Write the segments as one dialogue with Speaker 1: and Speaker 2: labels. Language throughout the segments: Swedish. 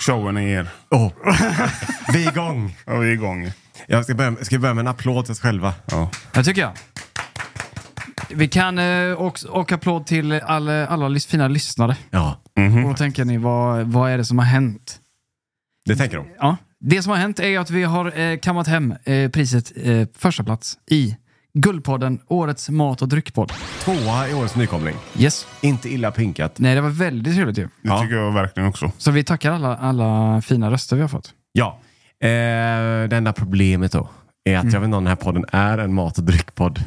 Speaker 1: Showen är er.
Speaker 2: Åh, Vi är igång!
Speaker 1: Ja, vi är igång.
Speaker 2: Jag ska, börja, ska vi börja med en applåd till oss själva?
Speaker 1: Ja.
Speaker 3: Det tycker jag. Vi kan eh, också, och applåd till alla, alla lys- fina lyssnare.
Speaker 2: Ja,
Speaker 3: Och då tänker ni, vad, vad är det som har hänt?
Speaker 2: det tänker de.
Speaker 3: Ja, det som har hänt är ju att vi har eh, kammat hem eh, priset eh, första plats i Guldpodden, Årets mat och dryckpodd.
Speaker 2: Tvåa i årets nykomling.
Speaker 3: Yes.
Speaker 2: Inte illa pinkat.
Speaker 3: Nej, det var väldigt trevligt ju.
Speaker 1: Det
Speaker 2: Ja.
Speaker 1: tycker jag verkligen också.
Speaker 3: Så vi tackar alla, alla fina röster vi har fått.
Speaker 2: Ja. Eh, det enda problemet då är att jag vet inte om den här podden är en mat och dryckpodd.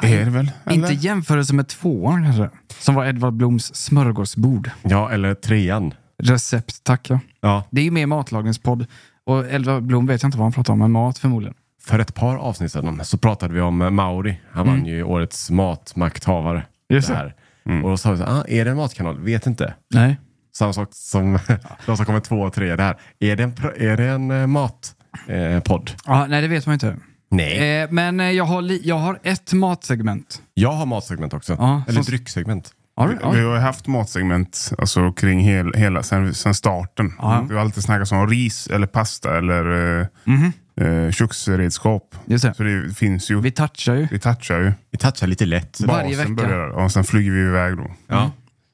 Speaker 1: Det är det väl? eller?
Speaker 3: Inte i jämförelse med tvåan kanske, som var Edvard Bloms smörgåsbord.
Speaker 2: Ja, eller trean.
Speaker 3: Recept, tack ja.
Speaker 2: Ja.
Speaker 3: Det är ju mer matlagningspodd. Och Edvard Blom vet jag inte vad han pratar om, men mat förmodligen.
Speaker 2: För ett par avsnitt sedan så pratade vi om eh, Mauri. Han vann ju årets matmakthavare.
Speaker 3: Just det.
Speaker 2: här. Och då sa vi så här, ah, är det en matkanal? Vet inte.
Speaker 3: Nej.
Speaker 2: Samma sak som de som kommer två och tre där. Är det en, pr- är det en eh, mat, eh, podd?
Speaker 3: Ja, nej, det vet man ju inte.
Speaker 2: Nej.
Speaker 3: Eh, men eh, jag har, li- jag har ett matsegment.
Speaker 2: Jag har matsegment också.
Speaker 3: Ja,
Speaker 2: Eller
Speaker 3: så-
Speaker 2: drycksegment.
Speaker 3: Har du?
Speaker 1: Vi
Speaker 3: Ja.
Speaker 1: har ju haft matsegment alltså, kring hel, hela, sen, sen starten.
Speaker 3: Ja.
Speaker 1: Det har alltid snackats om ris eller pasta eller eh, eh, köksredskap.
Speaker 3: Just det.
Speaker 1: Så det finns ju.
Speaker 3: Mhm. Vi
Speaker 1: Vi,
Speaker 3: touchar ju.
Speaker 1: touchar ju.
Speaker 2: Vi touchar lite lätt.
Speaker 3: Varje Mm.
Speaker 1: Basen
Speaker 3: vecka.
Speaker 1: Börjar, och sen flyger vi iväg då.
Speaker 2: Ja,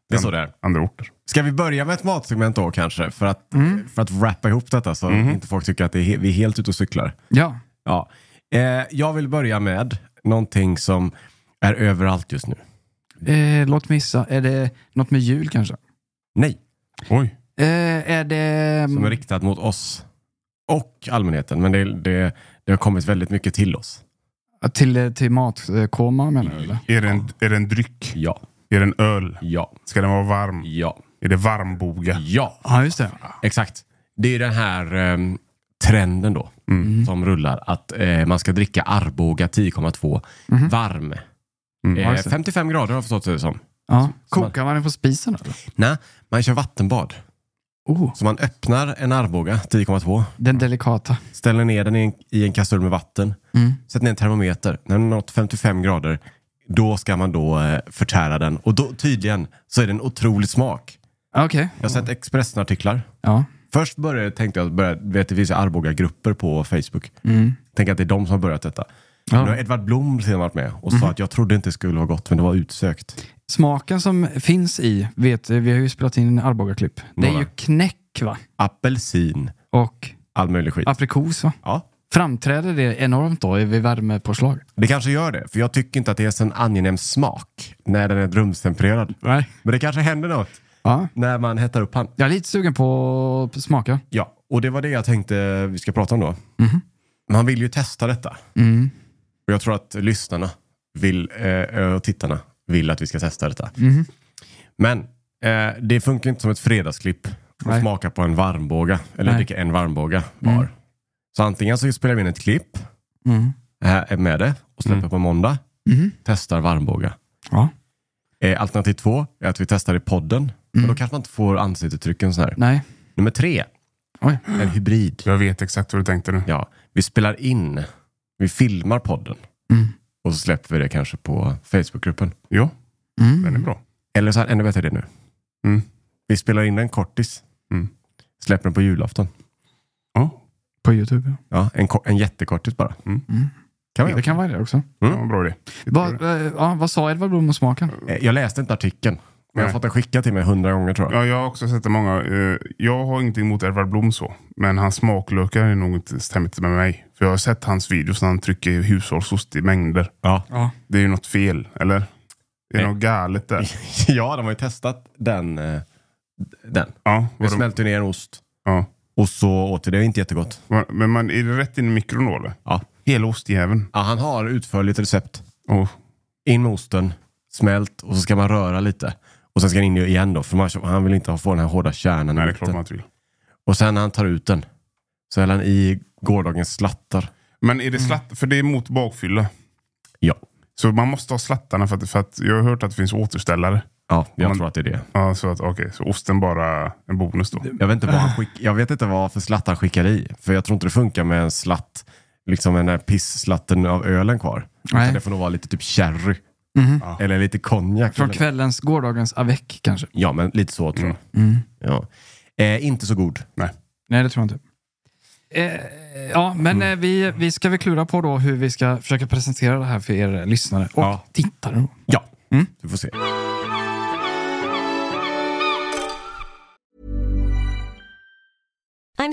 Speaker 2: det är så det är.
Speaker 1: Andra orter.
Speaker 2: Ska vi börja med ett matsegment då kanske? För att,
Speaker 3: Mm.
Speaker 2: för att wrappa ihop detta så inte folk tycker att det är, he- vi är helt ute och cyklar.
Speaker 3: Ja.
Speaker 2: Ja. Eh, jag vill börja med någonting som är överallt just nu.
Speaker 3: Eh, låt mig gissa. Är det något med jul kanske?
Speaker 2: Nej,
Speaker 1: Oj.
Speaker 3: Eh, är det...
Speaker 2: som är riktat mot oss och allmänheten. Men det, det, det har kommit väldigt mycket till oss.
Speaker 3: Till, till matkoma menar du? eller?
Speaker 1: Är det, en, är det en dryck?
Speaker 2: Ja,
Speaker 1: Är det en öl?
Speaker 2: ja,
Speaker 1: Ska den vara varm?
Speaker 2: ja,
Speaker 1: Är det varmboga?
Speaker 2: ja.
Speaker 3: Ja, just det.
Speaker 2: Exakt. Det är den här ehm, trenden då
Speaker 3: Mm.
Speaker 2: som rullar. Att eh, man ska dricka Arboga 10,2 varm.
Speaker 1: Mm.
Speaker 2: Eh, 55 grader har jag förstått det som.
Speaker 3: Ja. Kokar man den på spisen eller?
Speaker 2: Nej, man kör vattenbad.
Speaker 3: Oh,
Speaker 2: Så man öppnar en Arboga 10,2,
Speaker 3: den delikata.
Speaker 2: ställer ner den i en, i en kastrull med vatten,
Speaker 3: Mm.
Speaker 2: sätter ner en termometer. När den har nått 55 grader, då ska man då eh, förtära den. Och då, tydligen så är det en otrolig smak.
Speaker 3: Okej.
Speaker 2: Jag har sett Expressen-artiklar.
Speaker 3: Ja.
Speaker 2: Först började, tänkte jag, att börja, vet, det finns ju Arboga-grupper på Facebook.
Speaker 3: Mm.
Speaker 2: Tänk att det är de som har börjat detta. Nu har
Speaker 3: ja.
Speaker 2: Edvard Blom sedan varit med och sa att jag trodde inte det skulle vara gott, men det var utsökt.
Speaker 3: Smaken som finns i, vet vi har ju spelat in en Arboga-klipp. Det är ju
Speaker 2: Några.
Speaker 3: knäck va?
Speaker 2: Apelsin,
Speaker 3: Och
Speaker 2: all möjlig skit.
Speaker 3: aprikos va?
Speaker 2: ja,
Speaker 3: Framträder det enormt då vid värmepåslag?
Speaker 2: det kanske gör det, för jag tycker inte att det är en angenäm smak när den är rumstempererad.
Speaker 3: Nej.
Speaker 2: Men det kanske händer något
Speaker 3: Ja.
Speaker 2: när man hettar upp han.
Speaker 3: Jag är lite sugen på att smaka.
Speaker 2: Ja, och det var det jag tänkte vi ska prata om då. Man vill ju testa detta.
Speaker 3: Mm.
Speaker 2: Och jag tror att lyssnarna vill, eh, och tittarna vill att vi ska testa detta.
Speaker 3: Mm.
Speaker 2: Men eh, det funkar inte som ett fredagsklipp att
Speaker 3: Nej.
Speaker 2: smaka på en varmbåga eller
Speaker 3: Nej.
Speaker 2: dricka en varmbåga var. Så antingen så spelar vi in ett klipp
Speaker 3: Mm.
Speaker 2: här med det och släpper på måndag.
Speaker 3: Mhm.
Speaker 2: Testar varmbåga.
Speaker 3: Ja.
Speaker 2: Eh, alternativ två är att vi testar i podden. Men
Speaker 3: Mm.
Speaker 2: då kanske man inte får ansiktsuttrycken sådär.
Speaker 3: Nej.
Speaker 2: Nummer tre,
Speaker 3: Oj.
Speaker 2: en hybrid.
Speaker 1: Jag vet exakt vad du tänkte nu.
Speaker 2: Ja, vi spelar in, vi filmar podden
Speaker 3: Mm.
Speaker 2: och så släpper vi det kanske på Facebookgruppen.
Speaker 1: Jo, den
Speaker 3: Mm.
Speaker 1: är bra.
Speaker 2: Eller så här, ännu bättre det nu.
Speaker 1: Mm.
Speaker 2: Vi spelar in en kortis,
Speaker 1: Mm.
Speaker 2: släpper den på julafton.
Speaker 1: Ja,
Speaker 3: På YouTube.
Speaker 2: Ja, en, ko- en jättekortis bara. Kan
Speaker 3: Ja.
Speaker 2: vi?
Speaker 3: Det kan vara det också.
Speaker 1: det var bra idé. Jag tror
Speaker 3: Vad, eh, ja, vad sa Edvard Blom om smaken?
Speaker 2: Eh, Jag läste inte artikeln, men jag har
Speaker 1: Nej.
Speaker 2: fått den skickad till mig hundra gånger tror jag.
Speaker 1: Ja, jag har också sett det många. eh, Jag har ingenting emot Edvard Blom så, men hans smaklökar är nog inte, stämmer inte med mig. För jag har sett hans videos när han trycker hushållsost i mängder.
Speaker 2: Ja.
Speaker 3: Ja.
Speaker 1: Det är ju något fel, eller? Det är
Speaker 2: Nej.
Speaker 1: något galet där.
Speaker 2: ja, de har ju testat den. eh, den.
Speaker 1: Ja,
Speaker 2: Det
Speaker 1: vad de,
Speaker 2: smälte ner en ost
Speaker 1: ja.
Speaker 2: och så åt vi det. Det är inte jättegott.
Speaker 1: Vad- Men man, är det rätt in i mikron då eller?
Speaker 2: Ja.
Speaker 1: Hela ostjäveln.
Speaker 2: Ja, han har utförligt recept.
Speaker 1: Oh.
Speaker 2: in med osten, smält och så ska man röra lite. Och sen ska den in igen då, för man, han vill inte ha- få den här hårda kärnan
Speaker 1: Nej,
Speaker 2: i
Speaker 1: det är klart
Speaker 2: mitten.
Speaker 1: man inte vill.
Speaker 2: Och sen när han tar ut den, så häller han i gårdagens slattar.
Speaker 1: Men är det slatt? För det är mot bakfylla.
Speaker 2: Mm. Ja,
Speaker 1: Så man måste ha slattarna för att, för att jag har hört att det finns återställare.
Speaker 2: ja jag
Speaker 1: Man-
Speaker 2: tror att det är det.
Speaker 1: Ja, så att okej, så osten bara en bonus då.
Speaker 2: Jag vet, inte vad han skick, jag vet inte vad för slatt han skickar i, för jag tror inte det funkar med en slatt, liksom den här pisslatten av ölen kvar.
Speaker 3: Nej. Mhm.
Speaker 2: Utan det får nog vara lite typ sherry, eller lite konjak.
Speaker 3: Från
Speaker 2: eller-
Speaker 3: kvällens, gårdagens avec kanske. Mm.
Speaker 2: Ja, men lite så tror jag. Ja. Eh, inte så god.
Speaker 1: Nej.
Speaker 3: Nej, det tror jag inte. Eh, ja, men eh, vi, vi ska väl klura på då hur vi ska försöka presentera det här för er lyssnare och
Speaker 2: Ja.
Speaker 3: tittare. Då.
Speaker 2: Ja,
Speaker 3: Mm.
Speaker 2: du får se.
Speaker 4: I'm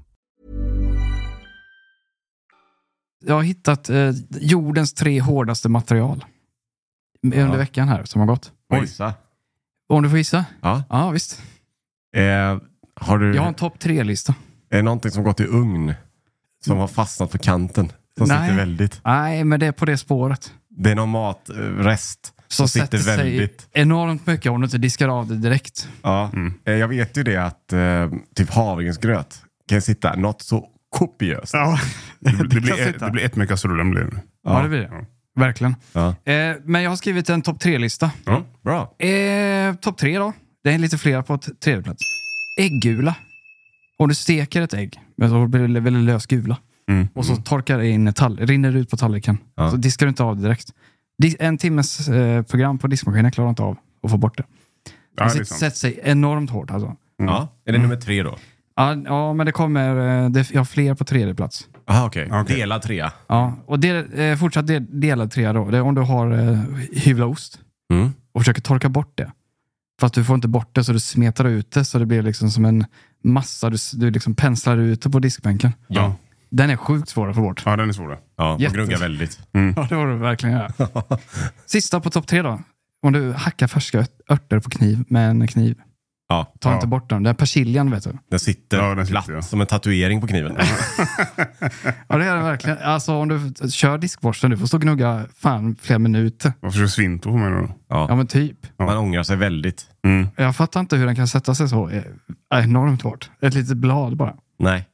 Speaker 3: Jag har hittat eh, jordens tre hårdaste material under
Speaker 2: Ja.
Speaker 3: veckan här som har gått.
Speaker 2: Oj. Gissa.
Speaker 3: Om du får gissa?
Speaker 2: Ja.
Speaker 3: Ja, visst.
Speaker 2: Eh, har du
Speaker 3: Jag har en topp tre-lista.
Speaker 2: är det någonting som gått i ugn? Som har fastnat på kanten? Som
Speaker 3: Nej.
Speaker 2: sitter väldigt.
Speaker 3: Nej, men det är på det spåret.
Speaker 2: Det är någon matrest som, sitter
Speaker 3: sätter sig
Speaker 2: väldigt.
Speaker 3: enormt mycket om du inte diskar av det direkt.
Speaker 2: Ja.
Speaker 1: Mm.
Speaker 2: Eh, jag vet ju det att eh, typ havregrynsgröt kan sitta något så kopiöst.
Speaker 3: Ja,
Speaker 1: Det, det,
Speaker 3: kan
Speaker 1: blir, ett,
Speaker 3: sitta.
Speaker 1: det blir ett med kastrullen blir det.
Speaker 3: det blir det. Verkligen.
Speaker 2: Ja.
Speaker 3: Eh, men jag har skrivit en topp tre-lista.
Speaker 2: Mm, Bra.
Speaker 3: Eh, topp tre då. Det är lite flera på t- tredje plats. Äggula. Om du steker ett ägg, men så blir det väldigt lös gula.
Speaker 1: Mm.
Speaker 3: Och så torkar det in, i tall- rinner det ut på tallriken.
Speaker 2: Ja.
Speaker 3: Så diskar du inte av det direkt. Di- En timmes eh, program på diskmaskinen klarar inte av att få bort det.
Speaker 1: Ja, det
Speaker 3: det
Speaker 1: är sant.
Speaker 3: sätter sig enormt hårt alltså.
Speaker 2: Ja. Är det nummer tre då?
Speaker 3: Ja, ja men det kommer... eh, Det, jag har fler på tredje plats.
Speaker 2: Aha, okej.
Speaker 1: Okej.
Speaker 2: Dela trea.
Speaker 3: Ja, och del, eh, fortsatt del, delad trea då. Det är om du har eh, hyvla ost.
Speaker 2: Mm.
Speaker 3: och försöker torka bort det. Fast du får inte bort det så du smetar ut det så det blir liksom som en massa. Du, du liksom penslar ut det på diskbänken.
Speaker 1: Ja.
Speaker 3: Den är sjukt svår att få bort.
Speaker 1: Ja, den är svår. den.
Speaker 2: Ja, och
Speaker 3: Jätte-
Speaker 2: gruggar väldigt. Mm.
Speaker 3: Ja, det var det verkligen. Ja. Sista på topp tre då. Om du hackar färska ört- örter på kniv med en kniv.
Speaker 2: Ja,
Speaker 3: Ta
Speaker 1: Ja.
Speaker 3: inte bort den. Den här persiljan vet du.
Speaker 2: den sitter
Speaker 1: Ja, den sitter,
Speaker 2: platt
Speaker 1: ja.
Speaker 2: som en tatuering på kniven.
Speaker 3: Ja, det är den verkligen. Alltså om du f- kör diskborsten, du får stå och gnugga fan flera minuter.
Speaker 1: Varför ska Svinto på mig då?
Speaker 3: Ja,
Speaker 2: Ja.
Speaker 3: men typ.
Speaker 2: Man ångrar sig väldigt.
Speaker 1: Mm.
Speaker 3: Jag fattar inte hur den kan sätta sig så eh, enormt hårt. Ett litet blad bara.
Speaker 1: Mm.
Speaker 2: Nej.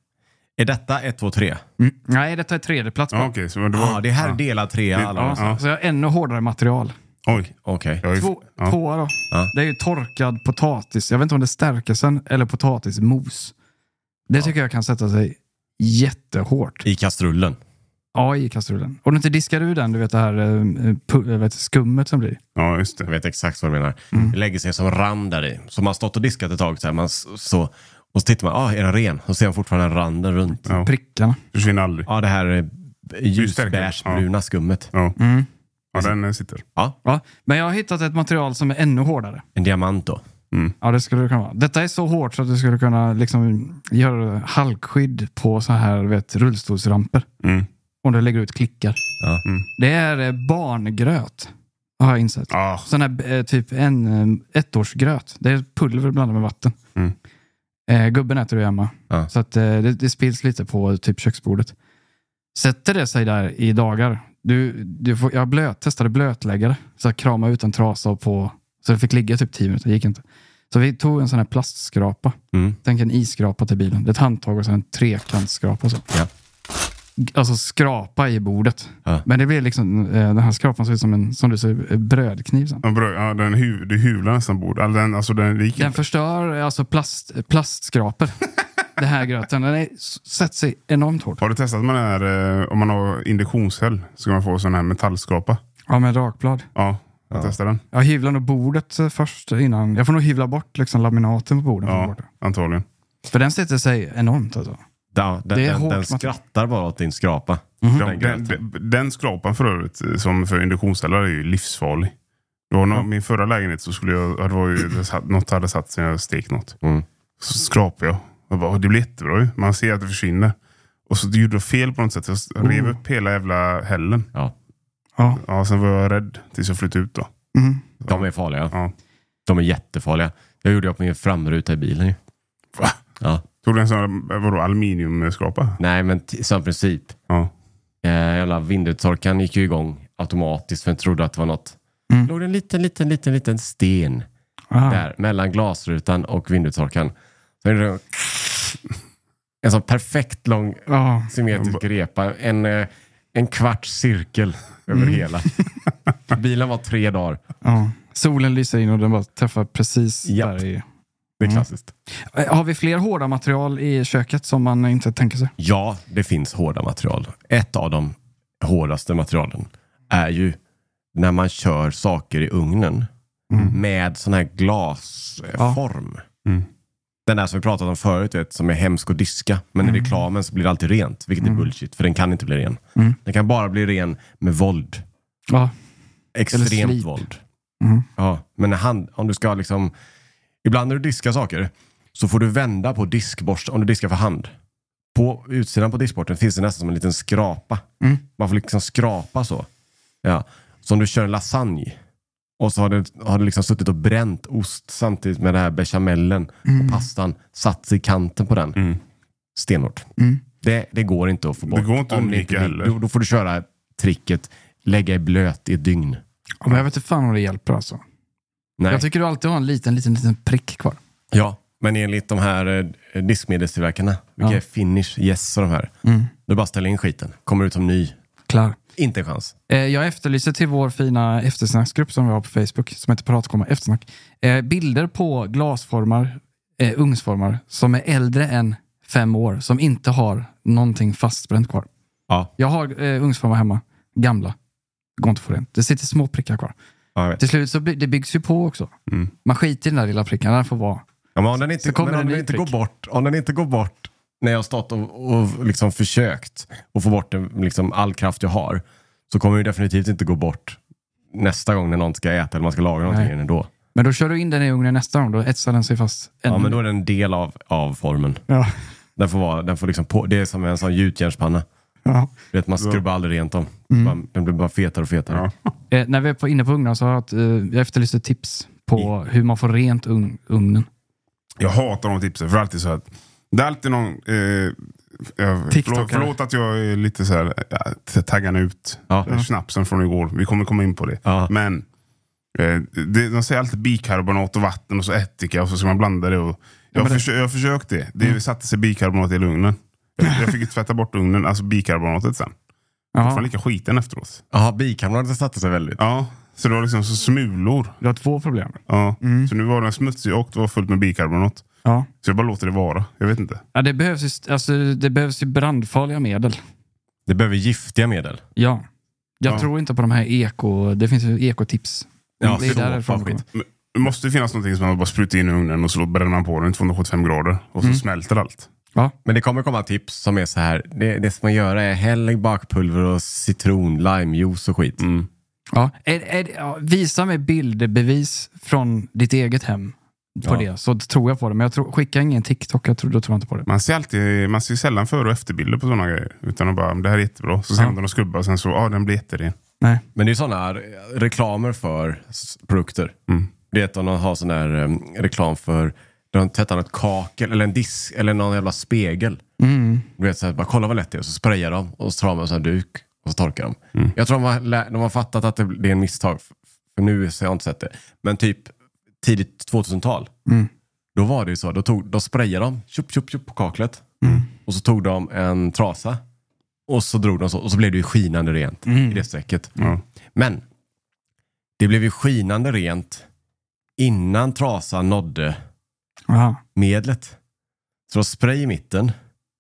Speaker 2: Är detta ett, två, tre?
Speaker 3: Mm. Nej, detta är tredjeplats.
Speaker 1: Ja,
Speaker 3: bara.
Speaker 1: okej. så det var...
Speaker 2: Ja, det här är delad trea.
Speaker 1: Det-
Speaker 2: alla
Speaker 1: ja.
Speaker 2: måste-
Speaker 3: Så jag har ännu hårdare material.
Speaker 1: Oj.
Speaker 2: Okej.
Speaker 1: Jag är ju-
Speaker 3: Två,
Speaker 1: ja.
Speaker 3: Tvåa då.
Speaker 2: Ja.
Speaker 3: Det är ju torkad potatis. Jag vet inte om det är stärkelsen eller potatismos. Det tycker jag kan sätta sig jättehårt.
Speaker 2: I kastrullen.
Speaker 3: Ja, i kastrullen. Och du inte diskar ur den, du vet det här eh, pu- jag vet, skummet som blir.
Speaker 1: Ja, just
Speaker 2: Jag
Speaker 1: det.
Speaker 2: vet exakt vad du menar.
Speaker 1: Mm.
Speaker 2: Det lägger sig som rand där i. Så man har stått och diskat ett tag. Så här, man, s- så, och så tittar man, ah, är den ren? Och ser man fortfarande randen runt.
Speaker 1: Ja.
Speaker 3: Prickarna.
Speaker 1: Försvinner aldrig.
Speaker 2: Ja, det här eh, ljusbärsbruna skummet.
Speaker 1: Ja. ja, den eh, sitter.
Speaker 2: Ja,
Speaker 3: Ja. Men jag har hittat ett material som är ännu hårdare.
Speaker 2: en diamant då.
Speaker 3: Ja, det skulle det kunna vara. Detta är så hårt så att du skulle kunna liksom göra halkskydd på så här, du vet, rullstolsramper.
Speaker 1: Mm.
Speaker 3: Om du lägger ut klickar.
Speaker 2: Ja.
Speaker 3: Det är eh, barngröt, har jag insett.
Speaker 1: Ah,
Speaker 3: Sån här eh, typ en eh, ettårsgröt. Det är pulver blandat med vatten.
Speaker 1: Mm.
Speaker 3: Eh, gubben äter det hemma.
Speaker 2: Ja.
Speaker 3: Så att, eh, det, det spills lite på typ köksbordet. Sätter det sig där i dagar. Du, du får, jag blöt, testade blötläggare. Så jag kramade ut en trasa och på. Så det fick ligga typ 10 minuter. Det gick inte. Så vi tog en sån här plastskrapa.
Speaker 2: Mm.
Speaker 3: Tänk en isskrapa till bilen. Det är ett handtag och sen en trekantskrapa. Och så.
Speaker 2: Ja.
Speaker 3: Alltså skrapa i bordet.
Speaker 2: Ja.
Speaker 3: Men det blir liksom, eh, den här skrapan ser ut som en, som du säger, eh, brödkniv. Sen.
Speaker 1: ja, bra. ja, den hu- du hyvlar nästan bord. Alltså, den, alltså, den, det gick
Speaker 3: Den
Speaker 1: inte.
Speaker 3: förstör eh, alltså plast, plastskrapor. det här gröten. Den är, s- sätter sig enormt hårt.
Speaker 1: Har du testat med den här, eh, om man har induktionshäll så kan man få sån här metallskrapa.
Speaker 3: Ja, med rakblad.
Speaker 1: Ja, jag testar den.
Speaker 3: Jag hyvlar nog bordet eh, först innan. Jag får nog hyvla bort liksom laminaten på borden. för att få
Speaker 1: Ja,
Speaker 3: bort det.
Speaker 1: antagligen.
Speaker 3: För den sätter sig enormt alltså.
Speaker 2: Ja, den,
Speaker 3: Det är
Speaker 2: den,
Speaker 3: hårt
Speaker 2: den
Speaker 3: material.
Speaker 2: skrattar bara åt din skrapa.
Speaker 1: Den, den, den, den skrapan för övrigt, eh, som för induktionshällar, är ju livsfarlig. Det var nå- Min förra lägenhet så skulle jag, ja, det var ju, det satt, något hade satt sig när jag stek något.
Speaker 2: Mm.
Speaker 1: Så skrapade jag. Jag bara, "Åh, det blir jättebra ju. Man ser att det försvinner. Och så gjorde jag fel på något sätt. Jag rev
Speaker 3: Oh.
Speaker 1: upp hela jävla hällen.
Speaker 2: Ja.
Speaker 3: Ja.
Speaker 1: Ja, sen var jag rädd tills jag flyttade ut då.
Speaker 3: Mm.
Speaker 2: De är farliga.
Speaker 1: Ja.
Speaker 2: De är jättefarliga. Jag gjorde jag på min framruta i bilen ju.
Speaker 1: Va?
Speaker 2: Ja.
Speaker 1: Tog du en sån, här, vadå, aluminiumskrapa?
Speaker 2: Nej, men t- samma princip.
Speaker 1: Ja.
Speaker 2: Eh, jävla vinduttorkaren gick ju igång automatiskt för jag trodde att det var något.
Speaker 3: Mm.
Speaker 2: låg det en liten, liten, liten, liten sten
Speaker 3: Ah.
Speaker 2: där mellan glasrutan och vinduttorkaren. Så är det en sån perfekt lång
Speaker 3: Ja.
Speaker 2: symmetrisk repa. En, eh, en kvarts cirkel över hela. Bilen var tre dagar.
Speaker 3: Ja. Solen lyser in och den bara träffar precis
Speaker 2: Japp.
Speaker 3: där. I.
Speaker 2: Det är
Speaker 3: Mm.
Speaker 2: klassiskt.
Speaker 3: Eh, Har vi fler hårda material i köket som man inte tänker sig?
Speaker 2: Ja, det finns hårda material. Ett av de hårdaste materialen är ju när man kör saker i ugnen
Speaker 3: Mm.
Speaker 2: med sån här glasform.
Speaker 1: Mm.
Speaker 2: Den där som vi pratat om förut, vet, som är hemsk att diska. Men i reklamen så blir det alltid rent, vilket är bullshit, för den kan inte bli ren.
Speaker 3: Mm.
Speaker 2: Den kan bara bli ren med våld.
Speaker 3: Ja. Eller
Speaker 2: Extremt
Speaker 3: slip.
Speaker 2: våld.
Speaker 3: Mm.
Speaker 2: Ja, men när hand, om du ska liksom... Ibland när du diskar saker så får du vända på diskborsten, om du diskar för hand. På utsidan på diskborsten finns det nästan som en liten skrapa.
Speaker 3: Mm.
Speaker 2: Man får liksom skrapa så. Ja. Så om du kör en lasagne och så har det, har det liksom suttit och bränt ost samtidigt med den här bechamelen
Speaker 3: Mm.
Speaker 2: och pastan satt sig i kanten på den.
Speaker 1: Mm.
Speaker 2: Stenhårt.
Speaker 3: Mm.
Speaker 2: Det, det går inte att få bort.
Speaker 1: går inte att
Speaker 2: Om det
Speaker 1: undvika
Speaker 2: blir-
Speaker 1: heller.
Speaker 2: Då, då får du köra tricket lägga i blöt i ett dygn.
Speaker 3: Ja, Men jag vet inte fan om det hjälper alltså.
Speaker 2: Nej.
Speaker 3: Jag tycker du alltid har en liten, liten, liten prick kvar.
Speaker 2: Ja, men enligt de här eh, diskmedelstillverkarna, vilka
Speaker 3: Ja.
Speaker 2: är Finish, Yes och de här.
Speaker 3: Mm.
Speaker 2: Du bara ställer in skiten, kommer ut som ny.
Speaker 3: Klar.
Speaker 2: Inte en chans.
Speaker 3: Eh, Jag efterlyser till vår fina eftersnacksgrupp som vi har på Facebook, som heter Paratkomma Eftersnack, eh, bilder på glasformar, eh, ugnsformar, som är äldre än fem år, som inte har någonting fastbränt kvar.
Speaker 2: Ja.
Speaker 3: Jag har eh, ugnsformar hemma, gamla. Det går inte att få rent. Det sitter små prickar kvar.
Speaker 2: Ja, jag vet.
Speaker 3: Till slut så blir, det byggs ju på också.
Speaker 1: Mm.
Speaker 3: Man skiter i den där lilla pricken, den får vara.
Speaker 2: Ja, men om den inte,
Speaker 3: Så kommer
Speaker 2: men om
Speaker 3: en
Speaker 2: den
Speaker 3: ny
Speaker 2: inte går
Speaker 3: prick.
Speaker 2: bort, om den inte går bort när jag har stått och, och liksom försökt och få bort den, liksom all kraft jag har, så kommer den ju definitivt inte gå bort nästa gång när någon ska äta eller man ska laga någonting
Speaker 3: Nej.
Speaker 2: i den ändå.
Speaker 3: Men då kör du in den i ugnen nästa gång, då etsar den sig fast.
Speaker 2: Ja,
Speaker 3: ännu
Speaker 2: men då är
Speaker 3: mer.
Speaker 2: det en del av, av formen.
Speaker 3: Ja,
Speaker 2: Den får vara, den får liksom på, det är som en sån gjutjärnspanna.
Speaker 3: ja. Mm.
Speaker 2: Du vet, man skrubbar aldrig rent dem. Man- Den blir bara fetare och fetare.
Speaker 1: Ja.
Speaker 3: Eh, när vi är på, inne på ugnar så har jag, ett, eh, jag efterlyser tips på hur man får rent ugn, ugnen.
Speaker 1: Jag hatar de tipsen. För det är alltid så att, det är alltid någon... Eh, jag- förlåt,
Speaker 3: TikTokare.
Speaker 1: förlåt att jag är lite så här, ja, taggarna ut
Speaker 2: Ja.
Speaker 1: eh, snapsen från igår. Vi kommer komma in på det.
Speaker 2: Ja.
Speaker 1: Men eh, det, de säger alltid bikarbonat och vatten och så ättika och så ska man blanda det. Och, jag har försö- jag har försökt det. Det satte sig bikarbonat i hela ugnen. Jag, jag fick ju tvätta bort ugnen, alltså bikarbonatet sen.
Speaker 3: Ja,
Speaker 1: Fortfarande lika skiten efteråt.
Speaker 2: Jaha, bikarbonat satte sig väldigt.
Speaker 1: Ja, så det var liksom så smulor.
Speaker 3: du har två problem.
Speaker 1: Ja. Så nu var den smutsig och det var fullt med bikarbonat.
Speaker 3: Ja.
Speaker 1: Så jag bara låter det vara. Jag vet inte.
Speaker 3: Ja, det, behövs ju, st- alltså, det behövs ju brandfarliga medel.
Speaker 2: Det behöver giftiga medel.
Speaker 3: Ja. Jag
Speaker 1: Ja.
Speaker 3: tror inte på de här eko... Det finns ju ekotips.
Speaker 2: Ja,
Speaker 3: det är
Speaker 2: så
Speaker 3: därifrån
Speaker 2: fan
Speaker 3: det kommer.
Speaker 2: skit.
Speaker 1: Det måste ju finnas någonting som man bara sprutar in i ugnen och så bränner man på den i 275 grader. Och
Speaker 3: Mm.
Speaker 1: så smälter allt.
Speaker 3: Ja.
Speaker 2: Men det kommer komma tips som är så här. Det, det som man gör är häll i bakpulver och citron, limejuice och skit.
Speaker 3: Ja. Är, är, ja. Visa mig bildbevis från ditt eget hem på
Speaker 2: Ja.
Speaker 3: det, så tror jag på det. Men jag tror, skicka ingen TikTok, jag tror, då tror jag inte på det.
Speaker 1: Man ser, alltid, man ser sällan före och efterbilder på sådana grejer. Utan de bara, det här är jättebra. Så ser
Speaker 3: Ja.
Speaker 1: man den och skrubbar och sen så, ja den blir jätteren.
Speaker 3: Nej.
Speaker 2: Men det är sådana eh, reklamer för s- produkter.
Speaker 1: Mm.
Speaker 2: Det är att de har sån här em, reklam för de tvättar något kakel eller en disk eller någon jävla spegel.
Speaker 3: Mm.
Speaker 2: Du vet, så här, bara, kolla vad lätt det är. Så sprayar de och så tar de en sån här duk och så torkar de.
Speaker 1: Mm.
Speaker 2: Jag tror de har, lä- de har fattat att det det är en misstag. För nu så har jag inte sett det. Men typ tidigt 2000-tal.
Speaker 1: Mm.
Speaker 2: Då var det ju så. Då, tog, då sprayade de tjup, tjup, tjup på kaklet.
Speaker 1: Mm.
Speaker 2: Och så tog de en trasa. Och så drog de så. Och så blev det ju skinande rent i det strecket.
Speaker 1: Mm. Ja.
Speaker 2: Men det blev ju skinande rent innan trasan nådde
Speaker 3: Aha.
Speaker 2: medlet. Så de spray i mitten.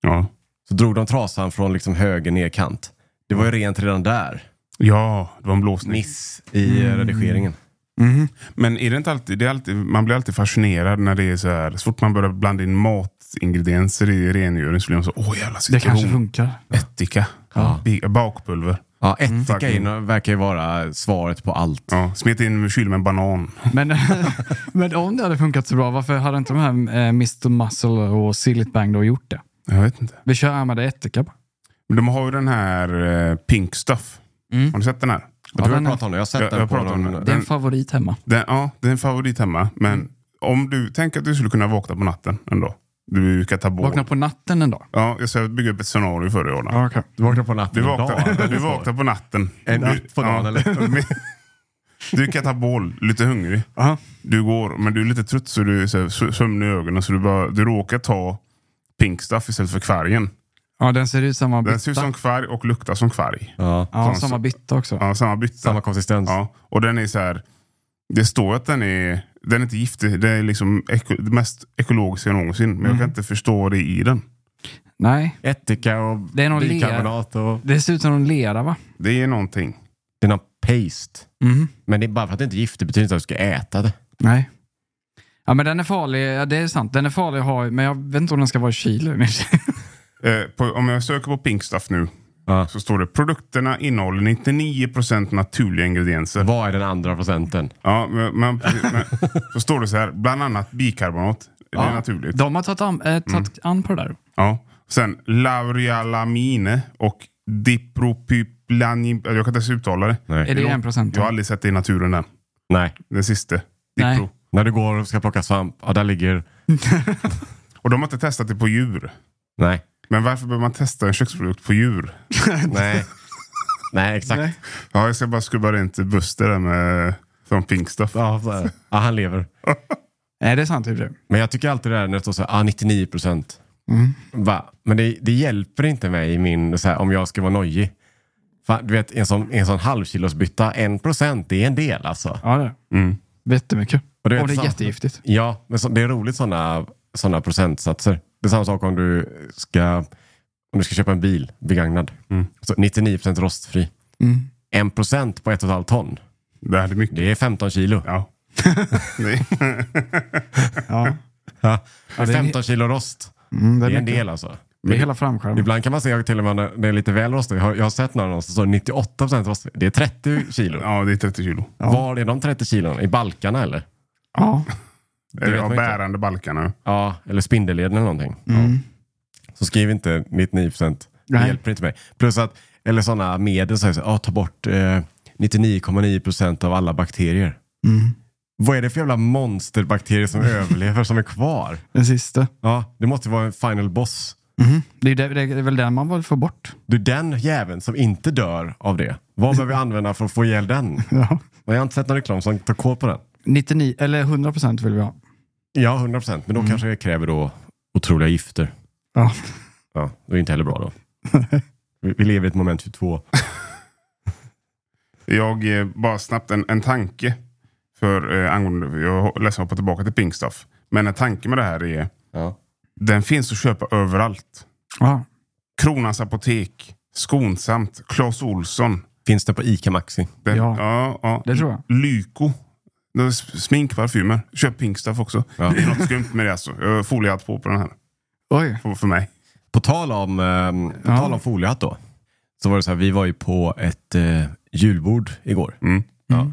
Speaker 1: Ja.
Speaker 2: Så drog de trasan från liksom höger nerkant. Det var ju rent redan där.
Speaker 1: ja, det var en blåsning.
Speaker 2: Miss i eh, redigeringen.
Speaker 3: Mhm.
Speaker 1: Men är det inte alltid, det är alltid, man blir alltid fascinerad när det är så här. Så fort man börjar blanda in matingredienser i rengöring så blir man så, åh jävla
Speaker 3: Det kanske
Speaker 1: citron,
Speaker 3: funkar.
Speaker 1: ättika,
Speaker 2: Ja.
Speaker 1: bi- bakpulver.
Speaker 2: Ja, ättika
Speaker 1: Fucking-
Speaker 2: in verkar ju vara svaret på allt.
Speaker 1: Ja, smet in kyl med en banan.
Speaker 3: Men, men om det hade funkat så bra, varför hade inte de här eh, Mr Muscle och Sillit Bang då gjort det?
Speaker 1: Jag vet inte.
Speaker 3: Vi kör med det ättika bara.
Speaker 1: Men de har ju den här eh, Pink Stuff.
Speaker 3: Mm.
Speaker 1: Har ni sett den här?
Speaker 2: Jag
Speaker 3: Ja,
Speaker 2: tror jag
Speaker 3: den-
Speaker 2: pratar om det. Jag har sett
Speaker 1: Jag-
Speaker 2: den
Speaker 1: jag
Speaker 2: på
Speaker 1: pratar om
Speaker 2: någon...
Speaker 1: den.
Speaker 3: Det är en favorit hemma.
Speaker 1: Den, ja, det är en favorit hemma. Men
Speaker 2: Mm.
Speaker 1: om du, tänk att du skulle kunna vakna på natten en dag. Du brukar på.
Speaker 3: Vakna på natten en dag.
Speaker 1: Ja, jag ska bygga upp ett scenario för dig Adam.
Speaker 3: Okay.
Speaker 2: Du vaknar på natten
Speaker 1: Du
Speaker 2: en
Speaker 1: vaknar,
Speaker 2: dag.
Speaker 1: du vaknar på natten.
Speaker 2: En
Speaker 1: Du-
Speaker 2: natt på dagen, eller?
Speaker 1: Men- Du är katabol, lite hungrig. Du går, men du är lite trött så du är så här sö- sömnig i ögonen. Så du, bara, du råkar ta pink stuff istället för kvargen.
Speaker 3: Ja, den ser ut som man
Speaker 1: Den
Speaker 3: bytta.
Speaker 1: ser ut som kvarg och luktar som kvarg.
Speaker 2: Ja,
Speaker 3: ja, samma bytta också.
Speaker 1: Ja, samma bytta.
Speaker 2: samma konsistens.
Speaker 1: Ja, och den är så här. Det står att den är, den är inte giftig. Den är liksom eko, det mest ekologiska någonsin. Men
Speaker 3: Mm.
Speaker 1: jag kan inte förstå det i den.
Speaker 3: Nej,
Speaker 2: Ättika och
Speaker 3: Det är någon lera.
Speaker 2: bikarbonat och...
Speaker 3: det ser ut som en lera va?
Speaker 1: Det är någonting.
Speaker 2: Det är någon paste.
Speaker 3: Mhm.
Speaker 2: Men det är bara för att det inte är giftigt betyder inte att du ska äta det.
Speaker 3: Nej. Ja, men den är farlig. Ja, det är sant. Den är farlig att ha, men jag vet inte om den ska vara i kylen.
Speaker 1: Eh, på, om jag söker på pink stuff nu
Speaker 2: Ja.
Speaker 1: så står det produkterna innehåller 99% naturliga ingredienser.
Speaker 2: Vad är den andra procenten?
Speaker 1: Ja, men, men, men så står det så här, bland annat bikarbonat. Det är naturligt.
Speaker 3: De har tagit an, eh, tagit
Speaker 1: Mm.
Speaker 3: an på det där.
Speaker 1: Ja. Sen laurialamine och dipropyplanin... Jag kan inte ens uttala det.
Speaker 2: Nej.
Speaker 3: Är det en procent?
Speaker 1: Jag har aldrig sett det i naturen än.
Speaker 2: Nej.
Speaker 1: Den sista.
Speaker 3: Nej.
Speaker 1: Dipro.
Speaker 2: När du går och ska plocka svamp, ja där ligger...
Speaker 1: Och de har inte testat det på djur.
Speaker 2: Nej.
Speaker 1: Men varför behöver man testa en köksprodukt på djur?
Speaker 2: Nej. Nej, exakt.
Speaker 1: Ja, jag ska bara skruva rent Buster där med från Pink Stuff.
Speaker 2: Ja, så är det. ja, han lever.
Speaker 3: Nej, det är sant. Typ det.
Speaker 2: Men jag tycker alltid det där när det står så här, ah, 99 procent. Va? Men det, det hjälper inte mig i min, så här, om jag ska vara nojig. Fan, du vet, en sån, en sån halvkilosbytta, en procent, det är en del alltså.
Speaker 3: Ja, det är det.
Speaker 1: Mm.
Speaker 3: Jättemycket.
Speaker 2: Och
Speaker 3: Och
Speaker 2: du vet,
Speaker 3: det
Speaker 2: så-
Speaker 3: är jättegiftigt.
Speaker 2: Ja, men så, det är roligt sådana såna procentsatser. Det är samma sak om du ska, om du ska köpa en bil begagnad. Så 99 procent rostfri.
Speaker 3: Mm.
Speaker 2: En procent på ett och ett halvt ton,
Speaker 1: Det här är mycket.
Speaker 2: det är 15 kilo.
Speaker 1: Ja. Nej.
Speaker 3: Ja.
Speaker 2: Ja.
Speaker 3: det är en-
Speaker 2: 15 kilo rost,
Speaker 3: Mm, det
Speaker 2: det
Speaker 3: är,
Speaker 2: är en
Speaker 3: mycket.
Speaker 2: del alltså.
Speaker 3: Det är hela framskärmen.
Speaker 2: Ibland kan man se till och med när det är lite väl rostigt. Jag har, jag har sett några någonstans så 98 procent rostigt. Det är 30 kilo.
Speaker 1: ja, det är 30 kilo.
Speaker 2: Var är de 30 kilon? I balkarna eller?
Speaker 3: Ja.
Speaker 1: Eller
Speaker 2: vet
Speaker 1: ja,
Speaker 2: man inte.
Speaker 1: bärande balkarna.
Speaker 2: Ja, eller spindelleden eller någonting.
Speaker 3: Mm.
Speaker 2: Så skriv inte 99 procent. Det
Speaker 3: Nej.
Speaker 2: hjälper inte mig. Plus att, eller sådana medel säger så här, ah, ta bort eh, 99,9 procent av alla bakterier.
Speaker 3: Mm.
Speaker 2: Vad är det för jävla monsterbakterier som överlever, som är kvar?
Speaker 3: Den sista.
Speaker 2: Ja, det måste vara en final boss.
Speaker 3: Mhm. Det, är, det, det är väl den man vill få bort.
Speaker 2: Du är den jäveln som inte dör av det. Vad behöver jag använda för att få ihjäl den?
Speaker 3: Ja.
Speaker 2: Och jag har inte sett någon reklam som tar koll på den.
Speaker 3: 99, eller 100 procent vill vi ha.
Speaker 2: Ja, 100 procent. Men då
Speaker 3: Mm.
Speaker 2: kanske det kräver då otroliga gifter.
Speaker 3: Ja.
Speaker 2: Ja, det är inte heller bra då. Vi, vi lever i ett moment 22.
Speaker 1: Jag, eh, bara snabbt en, en tanke. För, eh, angående, jag är ledsen att hoppa tillbaka till Pink Stuff. Men en tanke med det här är,
Speaker 2: Ja.
Speaker 1: den finns att köpa överallt.
Speaker 3: Ja.
Speaker 1: Kronans apotek, Skonsamt, Clas Olsson.
Speaker 2: Finns det på ICA Maxi?
Speaker 1: Den,
Speaker 3: Ja.
Speaker 1: ja, ja.
Speaker 3: Det tror jag.
Speaker 1: Lyko. Det är s- Smink, parfymer. Köp Pink Stuff också.
Speaker 2: Ja.
Speaker 1: Det är något skumt med det alltså. Jag har foliehatt på på den här.
Speaker 3: Oj.
Speaker 1: För, för mig.
Speaker 2: På tal om, ehm, på
Speaker 3: Ja.
Speaker 2: tal om foliehatt då. Så var det så här, vi var ju på ett eh, julbord igår.
Speaker 1: Mm.
Speaker 2: Ja.